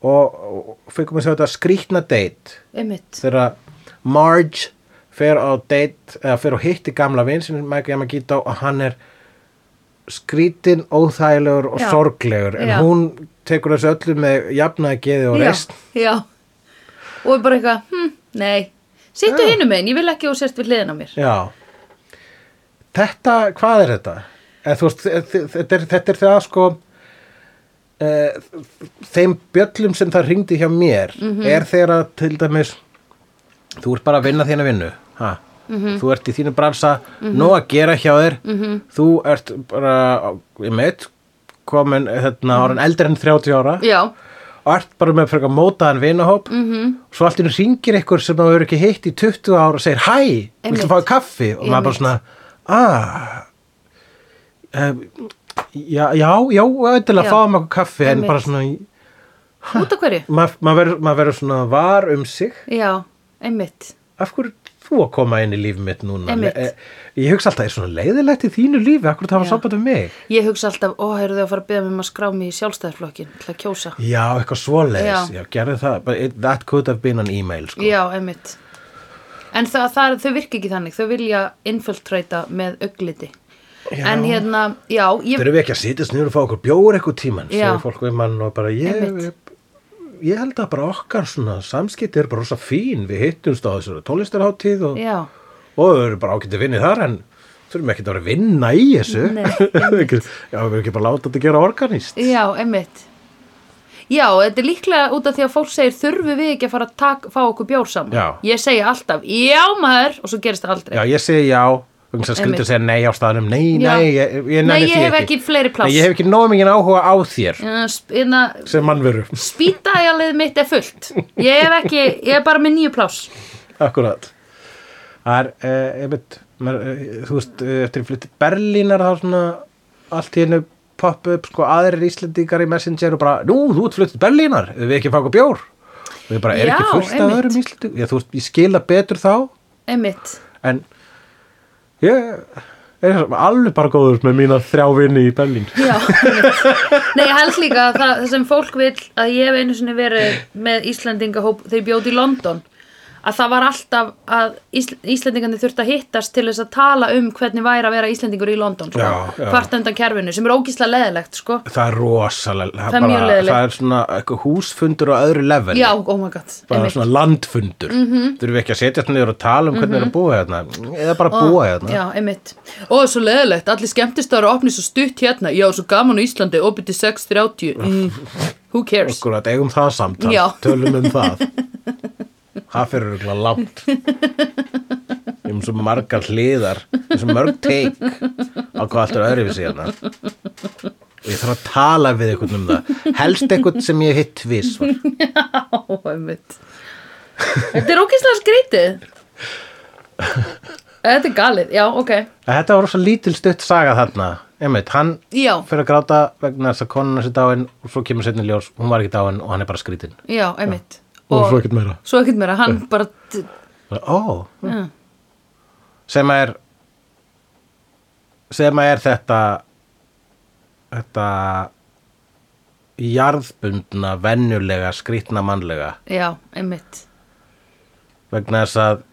og, og fengum við þetta skrýtna date Einmitt, þegar Marge fer á date eða fer og hitti gamla vin sem Mike Yamagita og hann er skrítinn, óþægilegur og Já. sorglegur en Já. hún tekur þessu öllu með jafnaði geði og já, reist já Og bara eitthvað, hm, nei Sittu Já. hinum megin, ég vil ekki og sérst við hliðin á mér Já Þetta, hvað er þetta? Eð, veist, þe- þe- þetta, er, þetta er það sko e, þeim bjöllum sem það ringdi hjá mér er þeirra til dæmis þú ert bara að vinna þína vinnu ha? þú ert í þínu bransa nóg að gera hjá þér þú ert bara, ég meit komin, hérna, orðin eldri en 30 ára Já, og ert bara með frekar mótaðan vinahóp mhm. -hmm. svo allt í hennu ringir ykkur sem þú eru ekki hitt í 20 ára og segir hæ, viltu Einmitt. fá þér kaffi og maður bara Einmitt. svona ah, um, já, já, já, auðvitað Já. fáum okkur kaffi en Einmitt. bara svona út af hverju? maður ma verður ma svona var um sig Já, einmitt af hverju ert þú að koma inn í líf mitt núna Einmitt. Eh, ég hugsa alltaf, er svona leiðilegt í þínu lífi af hverju það var Já. samband um mig Ég hugsa alltaf, ó, eru þau að fara að byrja mig um að skrá mig í sjálfstæðarflokkin til að kjósa já, eitthvað svoleiðis, Já. já, gerðu það But it, that could have been an email sko. Já, einmitt En það, það, þau virka ekki þannig, þau vilja infiltrata með augliti en hérna, já ég, Þurfum við ekki að sitjast niður og fá okkur bjóður eitthvað tíman Já. segir fólk við mann og bara ég, Einmitt. ég held að bara okkar svona samskipti er bara rosa fín við hittumst á þessari tónlistarháttíð og, já, og við erum bara ágæti vinnið þar en þurfum ekki að vera að vinna í þessu Nei, Ekki- Já, við erum ekki bara að láta þetta gera organist já, emmitt já, þetta er líklega út af því að fólk segir þurfum við ekki að fara að tak, fá okkur bjór saman Já. ég segi alltaf, já maður og svo gerist það aldrei Já, ég segi já vegna þess að skrýta Einmitt. að segja nei á staðanum Nei, Já. nei, ég, Nei, ég, nenni ég því hef ekki fleiri pláss. Nei, Ég hef ekki nóg mikið áhuga á þér Hérna, sp- hérna, sem mannveru spýtaælið mitt er fullt ég hef ekki, ég er bara með nýju pláss Akkurat Það er, eh, einmitt maður, eh, þú veist, eh, eftir ég flytti Berlínar þá svona allt í hennu popp upp sko aðrir Íslendingar í Messenger og bara, nú, þú ert flyttið til Berlínar ef við ekki að fá okkur bjór og ég bara, er Já, ekki fullt af einmitt. öðrum Íslendingum ég, þú veist, ég skila betur þá emmitt, en ég er alveg bara góður með mína þrjá vinni í Berlín já einmitt. nei, ég held líka að það, það sem fólk vil að ég hef einu sinni verið með Íslandingahóp þegar ég bjóti í London að það var alltaf að Ísl Íslandingandi þurfti að hittast til þess að tala um hvernig væri að vera Íslandingur í London sko, Já, já. kvartöndan kerfinu sem er ógíslega leðilegt sko. það er rosalega Það er mjög leiðilegt. það er svona eitthvað húsfundur á öðru level já, oh my god bara einmitt. Mhm. svona landfundur þurfum við ekki að setja þetta niður og tala um hvernig við erum að búa hérna eða bara búa hérna Já, einmitt. Ó, svo leðilegt, allir skemmtistar og opni svo stutt hérna. Já, svo gaman á Íslandi, opið til 6.30. Mm, who cares? okkur að eigum það samtal, Já. tölum um það það fyrir okkur langt um svo margar hliðar um svo mörg teik á hvað allt er öðru við síðan og ég þarf að tala við einhvern um það helst einhvern sem ég hef hitt viss Já, einmitt. Þetta er ókýrslega skrítið. Þetta er galið, já, ok. þetta var rosa lítil stutt saga þarna einmitt, hann Já, fyrir að gráta vegna þess að konun hans er dáin og svo kemur setni ljós, hún var ekki dáin og hann er bara skrítinn já, einmitt. ekkert meira svo ekkert meira, hann bara, t- Ó, já, sem að er sem að er þetta þetta jarðbundna, venjulega, skrítna mannlega já, einmitt. vegna þess að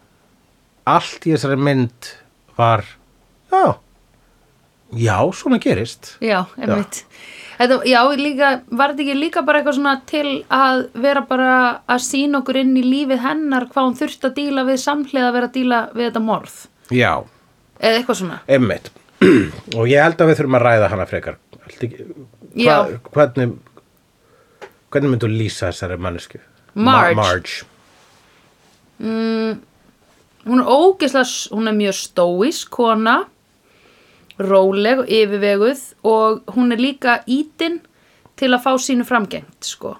allt í þessari mynd var já, já, svona gerist Já, einmitt. Þetta, já, líka, var þetta ekki líka bara eitthvað svona til að vera bara að sína okkur inn í lífið hennar hvað hún þurfti að díla við samhliða að vera að díla við þetta morð? já, Eða eitthvað svona. Einmitt. og ég held að við þurfum að ræða hana frekar. Allt ekki- Já. Hva, hvernig, hvernig myndu lýsa þessari mannesku? Marge. Marge. Hún er ógeðslega, s- hún er mjög stóisk, kona, róleg og yfirveguð og hún er líka ítin til að fá sínu framgengt, sko.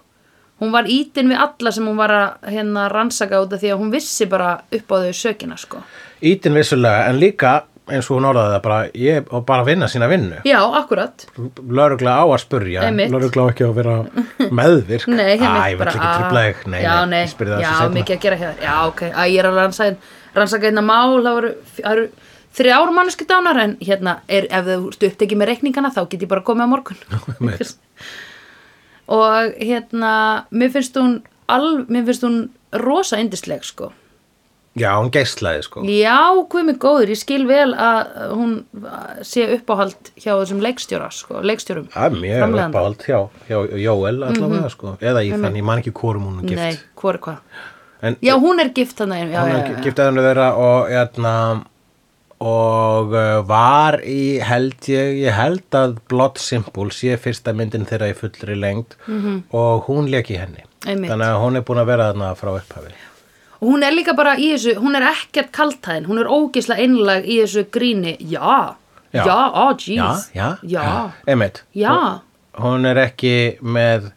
Hún var ítin við alla sem hún var að hérna rannsaka út af því að hún vissi bara upp á þau sökina, sko. Ítin vissulega, en líka eins og hún orðaði það bara, ég, og bara vinna sína vinnu. Já, akkurat. Lörugla á að spurja, Einmitt. lörugla á ekki að vera meðvirk. Nei, hérna Æ, ég vil ekki trubla þig. Nei, já, nei, ég spyrir það já, sem mikið að gera hér Já, ok, Æ, ég er að rannsaka, rannsaka hérna mál Það eru, það eru þrjár manneski dánar En hérna, er, ef þú ert upptekið með reikningana Þá get ég bara komið á morgun Einmitt. Og hérna, mér finnst hún alv, Mér finnst hún rosa indisleg, sko Já, hún geislaði sko. Já, hvað mig góður, ég skil vel að hún sé uppáhald hjá þessum leikstjóra, sko, leikstjórum Það er mjög Framleiðanda. Mhm. uppáhald hjá, hjá Jóel allavega sko. Eða í þannig, ég man ekki hvorum hún er gift. Nei, hvor er hvað? En Já, hún er gift þannig, já, hún já, er já, já. gift aðeins þeirra og jæna, og uh, var í held ég, ég held að Blood Simple sé fyrsta myndin þeirra í fullri lengd -hmm. og hún lék í henni Mhm. Einmitt. þannig að hún er búin að vera þarna frá upphafi Og hún er líka bara í þessu, hún er ekkert kaltæðin, hún er ógislega einlag í þessu gríni, já, já, Já. á, jeez, já, já, einmitt já, hún er ekki með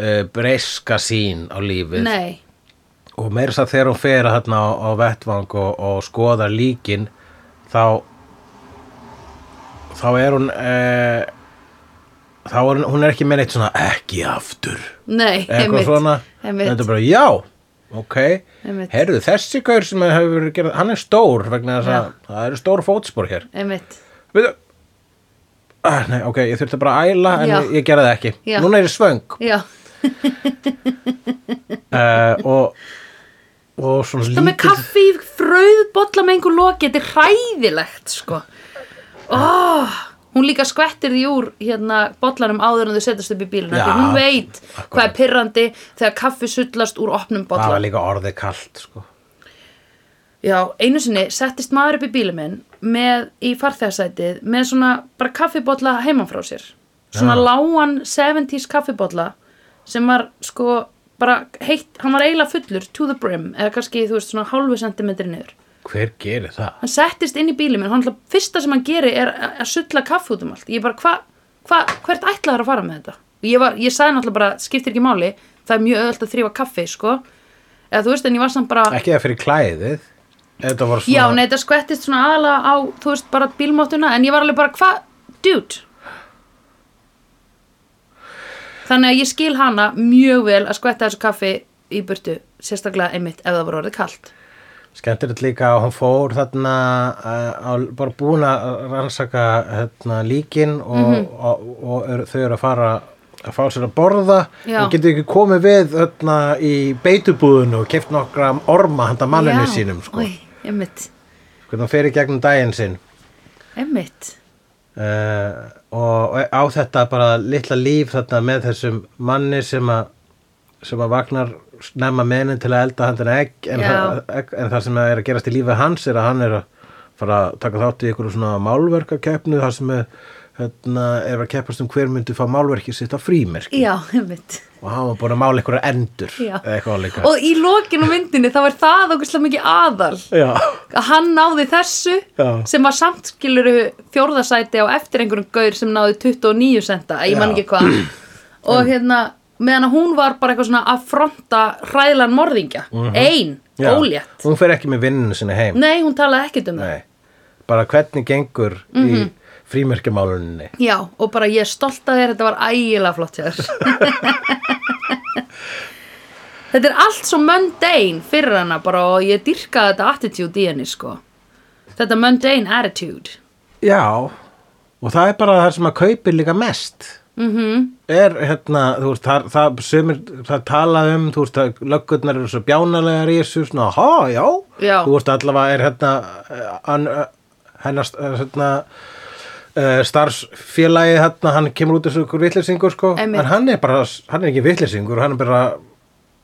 uh, breska sín á lífið nei, og meira þess að þegar hún fer þarna á, á vettvang og, og skoðar líkin þá þá er hún e, þá er hún, hún er ekki með neitt svona ekki aftur nei, eitthvað svona, þetta einmitt, er bara já ok, Einmitt. herðu þessi gaur sem hefur verið gerð, hann er stór vegna þess að Já. það eru stór fótspor hér einmitt, við ah, nei, ok, ég þurfti bara að æla en Já. ég, ég gerði það ekki, Já. núna er ég svöng já, uh, og og svona það með kaffi, fröð, bolla með einhver loki, þetta er hræðilegt, sko, oh, hún líka skvettir því úr hérna bollanum áður en þau setjast upp í bílun Já, hún veit hvað er akkurat. pirrandi þegar kaffi sullast úr opnum það var bollan líka orðið kalt sko. Já, einu sinni settist maður upp í bílum minn með, í farþegarsætið með svona bara kaffibolla heiman frá sér svona Já. lágan 70s kaffibolla sem var sko bara heitt, hann var eiginlega fullur to the brim, eða kannski þú veist svona hálfu sentimetri niður. hver gerir það? Hann settist inn í bílum minn, hann alltaf fyrsta sem hann gerir er að að sulla kaffi út um allt. Ég bara, hva, hva, hvert ætlaður að fara með þetta? Og Ég, var, ég sagði náttúrulega bara, skiptir ekki máli, það er mjög öðvöld að þrýfa kaffi, sko. Eða þú veist, en ég var samt bara... ekki það fyrir klæðið þetta var svona Já, nei, þetta skvettist svona aðalega á, þú veist, bara bílmáttuna, en ég var alveg bara, hvað, dude? Þannig að ég skil hana mjög vel að skvetta þessu kaffi í burtu, sérstaklega einmitt ef það var orðið kalt. Skemmtilegt líka að hún fór þarna uh, á, bara búin að rannsaka hérna, líkin og, Mhm. og, og, er, þau eru að fara að fá sér að borða Já. og getur ekki komið við hérna, í beitubúðinu og keft nokkra orma handa manninu Já, sínum sko. Oj, einmitt, hvernig hún fer í gegnum daginn sinn einmitt. uh, og, og á þetta bara litla líf þarna með þessum manni sem að sem að vagnar snemma menin til að elda handina egg en, Já. það- egg en það sem er að gerast í lífi hans er að hann er að fara að taka þátt í ykkur svona málverkakeppnu þar sem er, hérna, er að keppast um hver myndi fá málverkið sitt á frímerki Já, einmitt. og hann var búin að mála ykkur endur Já. eða eitthvað líka Og í lokinu myndinni þá er það okkur slá mikið aðal. Já, Að hann náði þessu Já. sem var samt skiluru fjórðasæti á eftir einhverjum gaur sem náði 29 senta, ég man Já. ekki hvað og hérna, meðan að hún var bara eitthvað svona að fronta hræðlan morðingja ein, Mhm. Já. ólétt Hún fer ekki með vinninu sinni heim nei, Mhm. hún talaði ekkert um það Nei. bara hvernig gengur í frímerkjamáluninni já, og bara ég er stolt að þér, þetta var ægilega flott hjá þér þetta er allt svo mundane fyrir hana bara og ég dyrkaði þetta attitude í henni sko þetta mundane attitude Já, og það er bara það sem að kaupir líka mest mhm, er hérna, þú veist, það, það, sumir, það tala um, þú veist, að löggurnar eru svo bjánalegar í þessu, svona, ha, já, Já. þú veist, allavega er hérna, eh, hann, eh, hennar, eh, hérna, uh, starfsfélagi hérna, hann kemur út þessu ykkur vitleysingur, sko, Einmitt. en hann er bara, hann er ekki vitleysingur, hann er bara,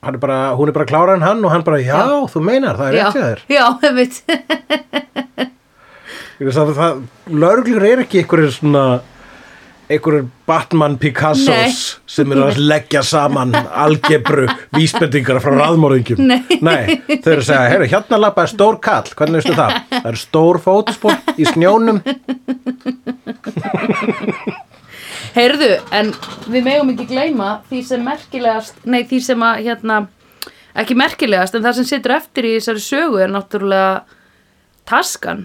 hann er bara, hún er bara klára en hann og hann bara, já, Já. þú meinar, það er já, rétt hjá þér. já, einmitt Ég veist að það, lauruglur er ekki einhverjir svona einhverjir Batman Picassos Nei. sem eru að leggja saman algebru vísbendingar frá raðmóringjum Nei. þau eru að segja, heyrðu, hérna lappaði stór kall hvernig veistu það? Það eru stór fótspor í snjónum Heyrðu, en við megum ekki gleyma því sem merkilegast, nei því sem að hérna, ekki merkilegast en það sem situr eftir í þessari sögu er náttúrulega taskan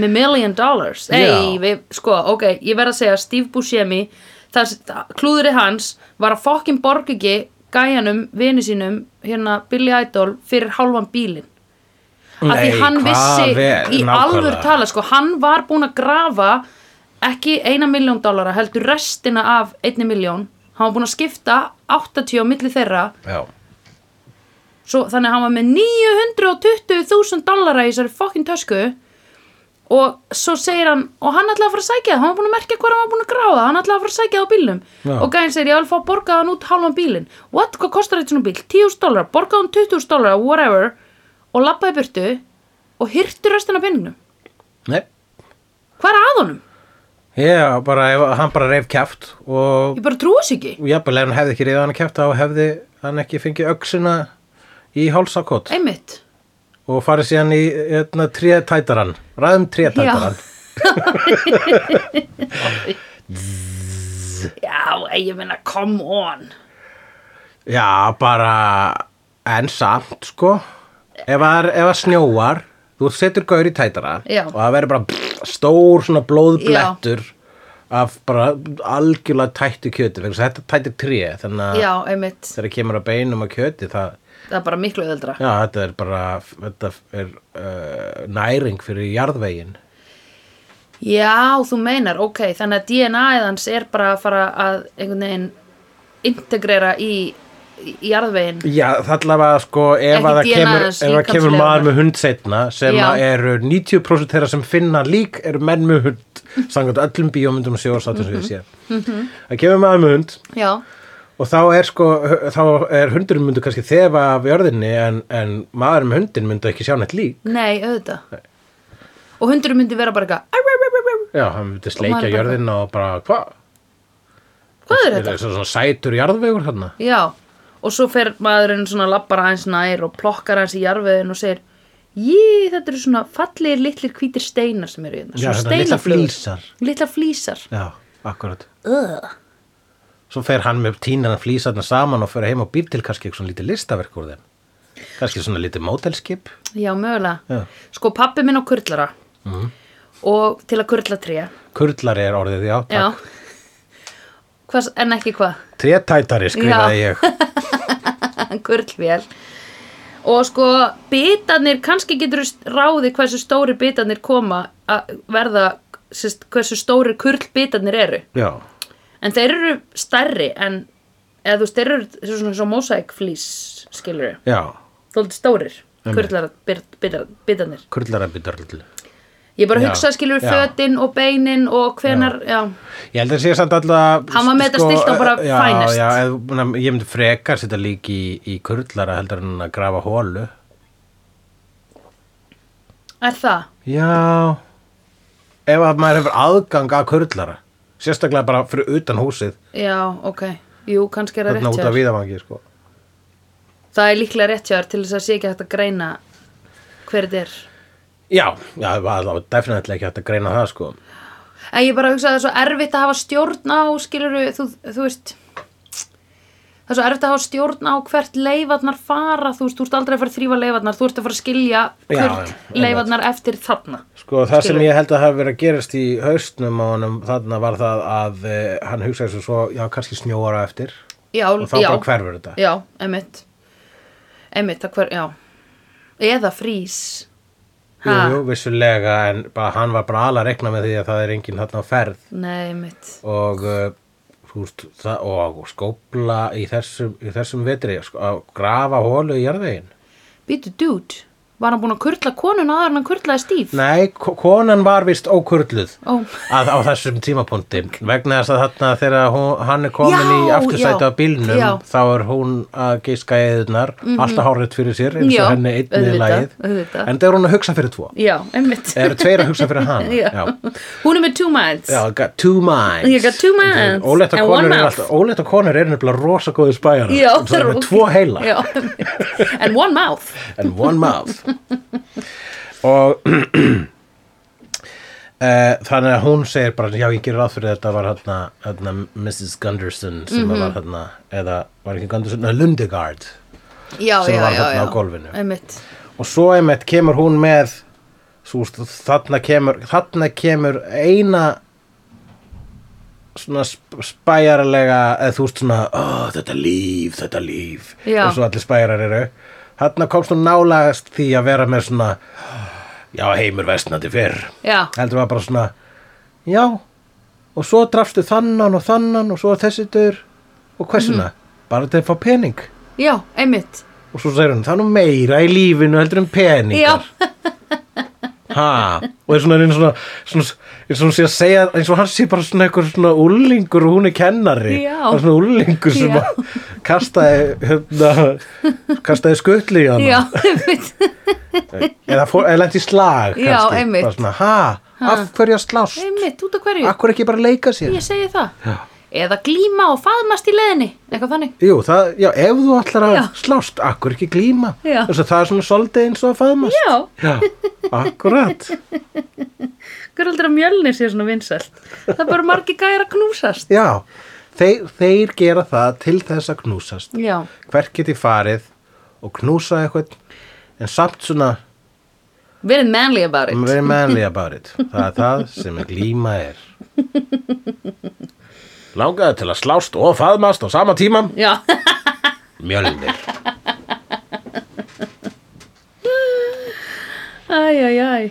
með million dollars Ei, Já. við, sko, ok, ég verð að segja Steve Buscemi, það það- klúðrið hans var að fokkin borg ekki gæjanum, vini sínum hérna Billy Idol fyrir hálfan bílinn að því hann vissi í alvöru tala sko, hann var búin að grafa ekki eina miljón dólara heldur restina af einni miljón hann var búin að skipta 80 á milli þeirra Já, svo, þannig að hann var með 920.000 dólara í þessari fokkin tösku og svo segir hann og hann ætlaði að fara að sækja það, hann var búin að merkja hvað hann var búin að gráða hann ætlaði að fara að sækja það á bílnum Já. og gæðin segir ég vil fá að borga hann út hálfan bílinn what, hvað kostar þetta svona bíl, 10.000 dólar borga hann 20.000 dólar, whatever og labbaði í burtu og hyrtu restina af peningnum nei hvað er að honum? Já, bara, ef- hann bara reif kjaft og ég bara trúi þess ekki jafnvel ef hann hefði ekki reyða hann kjaft þá hefði hann ekki fengið öxina í hálsakot einmitt, og farið síðan í hérna, trétætaran, ræðum trétætaran já, ég meina come on já. bara en samt sko ef að, ef að snjóar þú setur gaur í tætara Já. og það verður bara pff, stór svona blóðblettur af bara algjörlega tættu kjöti vegna þess að þetta tættir tré þannig að já, einmitt, þegar kemur að beinum að kjöti það, það er bara miklu öðuldra já, þetta er bara þetta er uh, næring fyrir jarðvegin Já, þú meinar, ok, þannig að DNA-ið hans er bara að fara að einhvern veginn integrera í jarðvegin Já, það allavega sko ef Ekki að DNA það kemur, aðeins, ef að kemur líkamsleifar. maður með hund setna sem Já. að eru 90% þeirra sem finna lík eru menn með hund samkvæmt öllum bíómyndum og sjóðsáttum sem við séð Mhm. Það kemur maður með hund Já, og þá er sko þá er hundurinn myndu kannski þefa af jörðinni en, en maður með hundin myndu ekki sjá neitt lík nei, auðvitað Og hundurum myndi vera bara eitthvað "Arr, arr, arr, arr, arr." Já, hann myndi maður sleikja bara- jörðinna og bara hvað? Hvað er Það þetta? er svona sætur jarðvegur þarna Já, og svo fer maðurinn svona lappar aðeins nær og plokkar aðeins í jarðvegin og segir Jí, þetta eru svona fallegir litlir hvítir steinar sem eru hérna Já, svona þetta litla steinaflugur. flísar Litlar flísar Já, akkurat Ugh. svo fer hann með tínan að flýsa þarna saman og fer heim og býr til kannski eitthvað svona lítið listaverk úr þeim kannski svona lítið mótelskip Já, mögulega Já. Mhm. Sko, pappi minn á kurlara Og til að kurla tré kurlari er orðið, já, Já takk Hvers, En ekki hvað? trétætari skrifaði Já. ég Kurlvél Og sko, bitarnir, kannski getur ráði hversu stóri bitarnir koma að verða, sérst, hversu stóri kurlbitarnir eru. já, En þeir eru stærri en, eða þú veist, þeir eru þeir eru svona svo mosaikflís, skilur við. já, Þóldi stórir, Einmitt. kurlara bitar, bitarnir. kurlara bitarl Ég bara Já, hugsa, skilur við, já. fötin og beinin og hvenar, já. ég held að sé samt alltaf Hann var með þetta stillt á bara já, finest. já, eð, na, ég myndi frekar setja lík í, í kurlara heldur en að grafa hólu Er það? já ef að maður hefur aðgang að kurlara sérstaklega bara fyrir utan húsið Já, ok. Jú, kannski er það þarna rétt út hjá af þér. viðamangi sko. Það er líklega rétt hjá þér til þess að sé ekki hægt að greina hver þetta er. já, já, það var allavega definitlega ekki hægt að greina það sko. En ég bara hugsa að það er svo erfitt að hafa stjórn á, skilur þú, þú veist, það er svo erfitt að hafa stjórn á hvert leifarnar fara, þú veist, þú ert aldrei að fara að þrýfa leifarnar, þú ert að fara að skilja Já, hvert já, leifarnar eftir þarna. Sko það sem Skilur. ég held að hafa verið að gerast í haustnum á honum þarna var það að e, hann hugsaði svo svo, já kannski snjóara eftir Já, og þá já, bara hverfur þetta. Já, einmitt, einmitt, það hver, já, eða frýs. Jú, jú, vissulega en bara, hann var bara alveg að rekna með því að það er enginn þarna á ferð Nei, einmitt, og, e, húst, það, og, og skópla í þessum, í þessum vetri, sko, að grafa hólu í jarðveginn. býtu dude, var hann búin að kurla konun aðar en hann kurlaði stíf? Nei, ko- konan var vist ókurluð Ó. að, á þessum tímapunkti vegna þess að þarna þegar hún, hann er komin Já, í já, aftursæti á bílnum já. Mhm. þá er hún að geiska eðunar alltaf hárið fyrir sér eins og Já, henni einnig auðvitað, lagið auðvitað. en það er hún að hugsa fyrir tvo Já, einmitt. eru tveir að hugsa fyrir hann Já. Hún er með two minds. Já, got two minds You got two minds Ólétta and one konur eru mouth. alltaf Ólétta konur eru nefnilega rosa góðu spæjar Já, Það er með ok. tvo heila Já, einmitt. and one mouth and one mouth og Uh, þannig að hún segir bara já ég gerir ráð fyrir að þetta var hérna, hérna Mrs. Gunderson sem Mhm. var hérna eða var ekki Gunderson, neða Lundegard já, Sem já, var já, þarna já. á gólfinu. einmitt. og svo einmitt kemur hún með svo, veist, þarna kemur þarna kemur eina svona sp- spæjaralega eða þú veist svona oh, þetta líf, þetta líf Já. og svo allir spæjarar eru þarna komst hún nálagast því að vera með svona já heimur vestnandi fyrr Já. heldur maður bara svona já og svo drafstu þannan og þannan og svo er þessi dyr og Mhm. hversuna mm. bara til að fá pening já, einmitt og svo segir hún, það er nú meira í lífinu heldur en peningar já, ha, og er svona eins og svona, svona eins og hún sé að segja eins og hann sé bara svona einhver svona úlingur og hún er kennari Já. það er svona úlingur sem Já. að kastaði hérna, kastaði skutli í hann já, einmitt eða, fór- eða lent í slag Já, kannski. einmitt. Bara svona, ha, af hverju að slást einmitt, út af hverju akkur ekki bara leika sér ég segi það Já. eða glíma og faðmast í leðinni eitthvað þannig Jú, það, já, ef þú ætlar að Já. slást, akkur ekki glíma Já. Þess að það er svona soldið eins og að faðmast já, Já, akkurat hver aldrei að mjölni sé svona vinsælt það er bara margir gæjar að knúsast Já, þeir, þeir gera það til þess að knúsast. já, Hvert geti farið og knúsa eitthvað en samt svona verið manly about it verið manly about it. Það er það sem er glíma er. Langaði til að slást og faðmast á sama tíma já, mjölnir. æ, æ, æ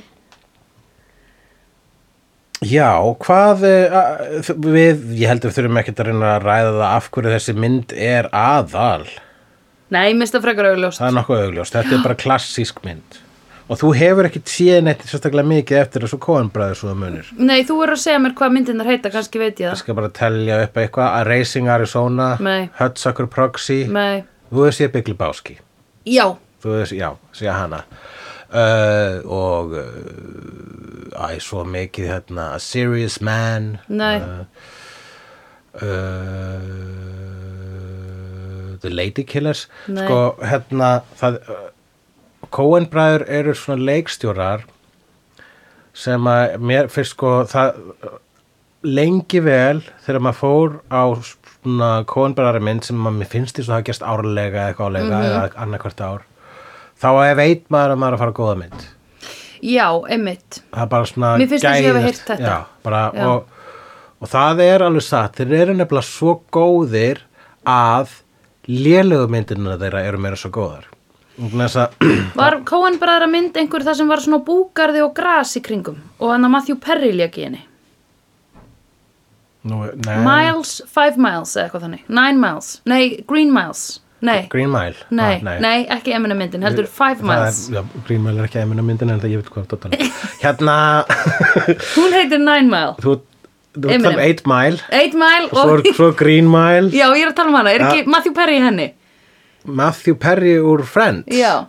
Já, hvað eh, a- við, ég held að við þurfum ekkert að reyna að ræða það af hverju þessi mynd er aðal. Nei, mista frekar augljóst það er nokkuð augljóst, þetta er bara klassísk mynd og þú hefur ekkert séð neitt sérstaklega mikið eftir þessu kóanbræður svo að munir Nei, þú er að segja mér hvað myndirnar heita, kannski veit ég ég skal bara tellja upp eitthvað að Racing Arizona, Nei. Hudsucker Proxy það Nei, þú hefur séð Big Lebowski já, þú hefur, já, séð hana uh, og uh, æ, svo mikið hérna, A Serious Man nei uh, The Lady Killers Nei. sko hérna það, uh, Coen bræður eru svona leikstjórar sem að mér fyrst sko það uh, lengi vel þegar maður fór á svona Coen bræðari mynd sem að mér finnst því svo það gerst árlega eða eitthvað álega eða annarkvart ár þá að veit maður að maður er að fara að góða mynd Já, einmitt það er bara svona Mér finnst eins og ég hafi gæðist- heyrt þetta. já, bara, Já. Og, og það er alveg satt þeir eru nefnilega svo góðir að lélegu myndina þeirra eru meira svo góðar vegna þess að Var Coen bræðra mynd einhver það sem var svona búgarði og gras í kringum og hann að Matthew Perry lék í henni nú, nei, Miles, Five Miles eða eitthvað þannig Nine Miles, nei, Green Miles Nei, Green Mile nei, Ah, nei. ekki Eminem myndin, heldur Five Það Miles er, já, Green Mile er ekki einu myndin en það ég veit hvað það tala hérna Hún heitir Nine Mile þú, þú ert að tala um Eminem. 8 Mile Eight Mile og svo, og... er- svo Green Mile Já, ég er að tala um hana, er Ja. ekki Matthew Perry í henni? Matthew Perry úr Friends Já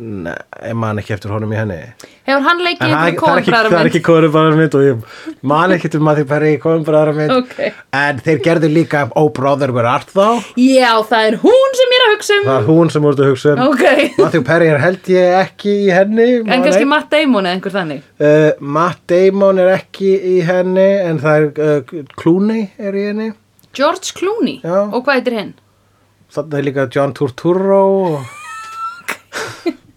nei, ég man ekki eftir honum í henni Hefur hann leikið En það er einhverjum ekki- það er ekki- það er kóðbræðarmynd? ekki kóðurbræðarmynd og ég man ekkert um að því bara í kóðurbræðarmynd Ok. en þeir gerðu líka Oh Brother Where Art Thou Já, það er hún sem ég er að hugsa um það er hún sem voruð að hugsa um Ok, Matthew Perry er held ég ekki í henni en man kannski ekki. Matt Damon eða einhver þannig uh, Matt Damon er ekki í henni en það er uh, Clooney er í henni George Clooney, Já. og hvað heitir hinn? þannig er líka John Turturro og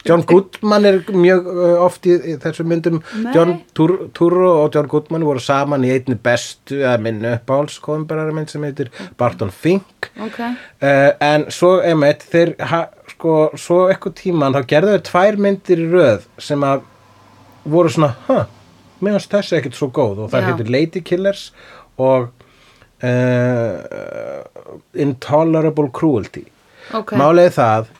John Goodman er mjög uh, oft í, í þessum myndum Nei. John Tur Turro og John Goodman voru saman í einni bestu eða minni uppáhalds koðumberarmynd sem heitir Barton Fink Ok, uh, en svo einmitt þeir ha, sko, svo eitthvað tíman þá gerðu þeir tvær myndir í röð sem að voru svona huh, mér finnst þessi ekkert svo góð og það Já. heitir Lady Killers og uh, Intolerable Cruelty ok Málið er það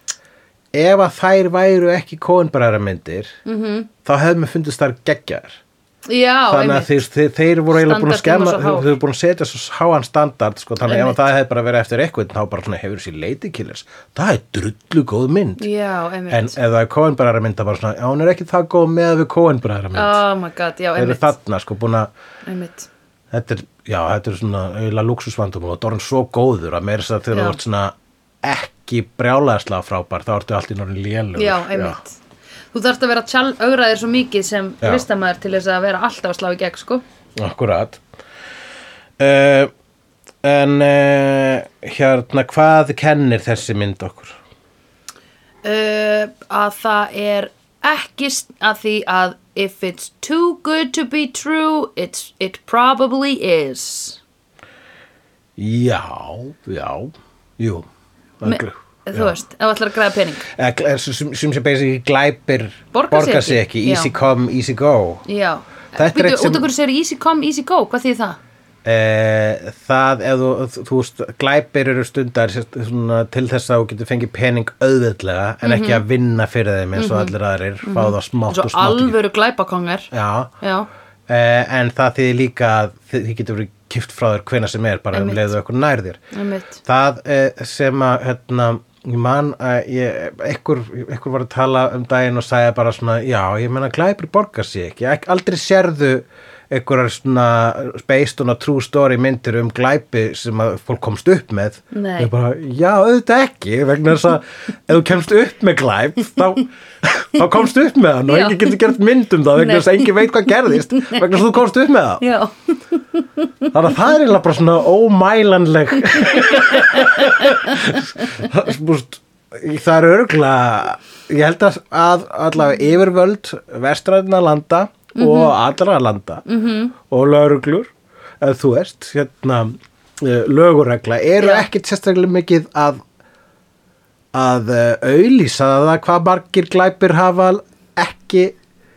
ef að þær væru ekki kóinbræðra myndir -hmm. þá hefðum við fundist þær geggjar Mhm. Já, þannig að einmitt þeir, þeir, þeir voru eiginlega búin að Standardinn var skemma svo þeir hár. þeir voru búin að setja svo háan standard sko, þannig að ef Einmitt. að það hefði bara verið eftir eitthvað þá bara svona hefur sér Lady Killers það er drullu góð mynd Já, en einmitt ef það er kóinbræðra mynd það bara svona, já hún er ekki það góð með við kóinbræðra mynd Oh my god, já, þeir eru einmitt, þarna sko búin að einmitt. þetta er, já, þetta er svona eiginlega luxusvandum og það er hann svo góður að meira þess að þegar Já. þú ert svona ekki brjálæðislega frábær þá ertu allt í norðin lélugur Já, einmitt Þú þarft að vera tjál- ögraðir svo mikið sem Já. listamæður til þess að vera alltaf að slá í gegn, sko akkurat uh, en uh, hérna hvað kennir þessi mynd okkur uh, að það er ekki s- að því að if it's too good to be true it's, it probably is já, já, jú það er Me- gl- þú veist, ef þú ætlar að græða pening eða gl- eða sem, sem sem basic glæpir Borga sig sig ekki, ekki, já. easy come, easy go já, Þetta er býtu eitt sem- út okkur sér easy come, easy go, hvað þýð það? Eh, það ef þú, þú veist, glæpir eru stundar sérst- svona, til þess að þú getur fengið pening auðveldlega en Mhm. ekki að vinna fyrir þeim eins og allir aðrir fá það smátt svo og smátt í- Mhm. alvöru glæpakongar Já, já, eh, en það þýðir líka að þið þið getur verið kift frá þér hvena sem er bara um Einmitt. leiðu okkur nær þér einmitt það eh, sem að hérna, ég man að ég, ekkur, ekkur var að tala um daginn og sagði bara svona, já, ég meina glæpir borgar sig ekki, Ek, aldrei sérðu einhverjar svona based on a true story myndir um glæpi sem að fólk komst upp með Nei. Ég bara, já, auðvitað ekki vegna þess að ef þú kemst upp með glæp þá, þá komst upp með hann og Já. enginn getur gert mynd um það Nei. vegna þess að enginn veit hvað gerðist vegna þess að þú komst upp með það já, Þannig að það er eiginlega bara svona ómælanleg Það er búst- Það er örgla Ég held að, að allavega yfirvöld vestræðina landa Mhm. og allra landa -hmm. og lögreglur eða þú veist, hérna eh, löguregla, eru Já. ekkert sérstaklega mikið að að eh, auðlýsa það hvað margir glæpir hafa ekki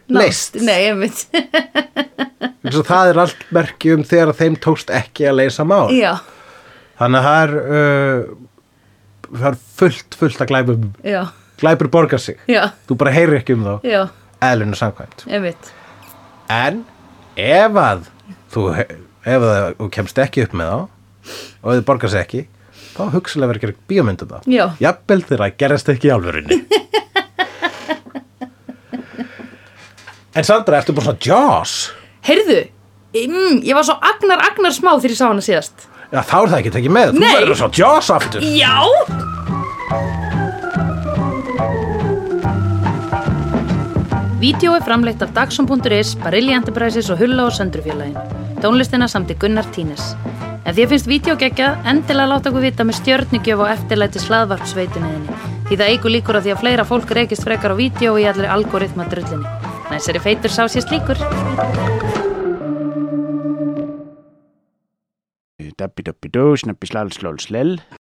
leist nei, einmitt eins og það er allt merki um þegar þeim tókst ekki að leysa mál já, þannig að það er uh, það er fullt, fullt að glæpum já, glæpur borgar sig, já, þú bara heyrir ekki um þá já, eðlunum samkvæmt einmitt en ef að þú, ef að þú kemst ekki upp með þá og þau borgar sig ekki þá hugsalega verður ekki bíómyndum það Já. um jafnvel þeirra gerist ekki í alvörunni en Sandra, ertu bara svona Jaws Heyrðu, mm, ég var svo agnar, agnar smá þegar ég sá hana síðast Já, þá er það ekki tekið með, þú Nei. verður svona Jaws aftur Já Vídeó er framleitt af Dagsum.is, Barilli Enterprises og Hulla og Söndrufjörlægin. Tónlistina samt í Gunnar Tínes. Ef þér finnst vídeo geggjað, endilega láta okkur vita með stjörnugjöf og eftirlæti slaðvarpsveitunniðinni. Því það eigur líkur að því að fleira fólk reykist frekar á vídeo og í allir algoritma drullinni. Næsari feitur sá sér slíkur. Dabbi dabbi dó, snabbi slal slól slell.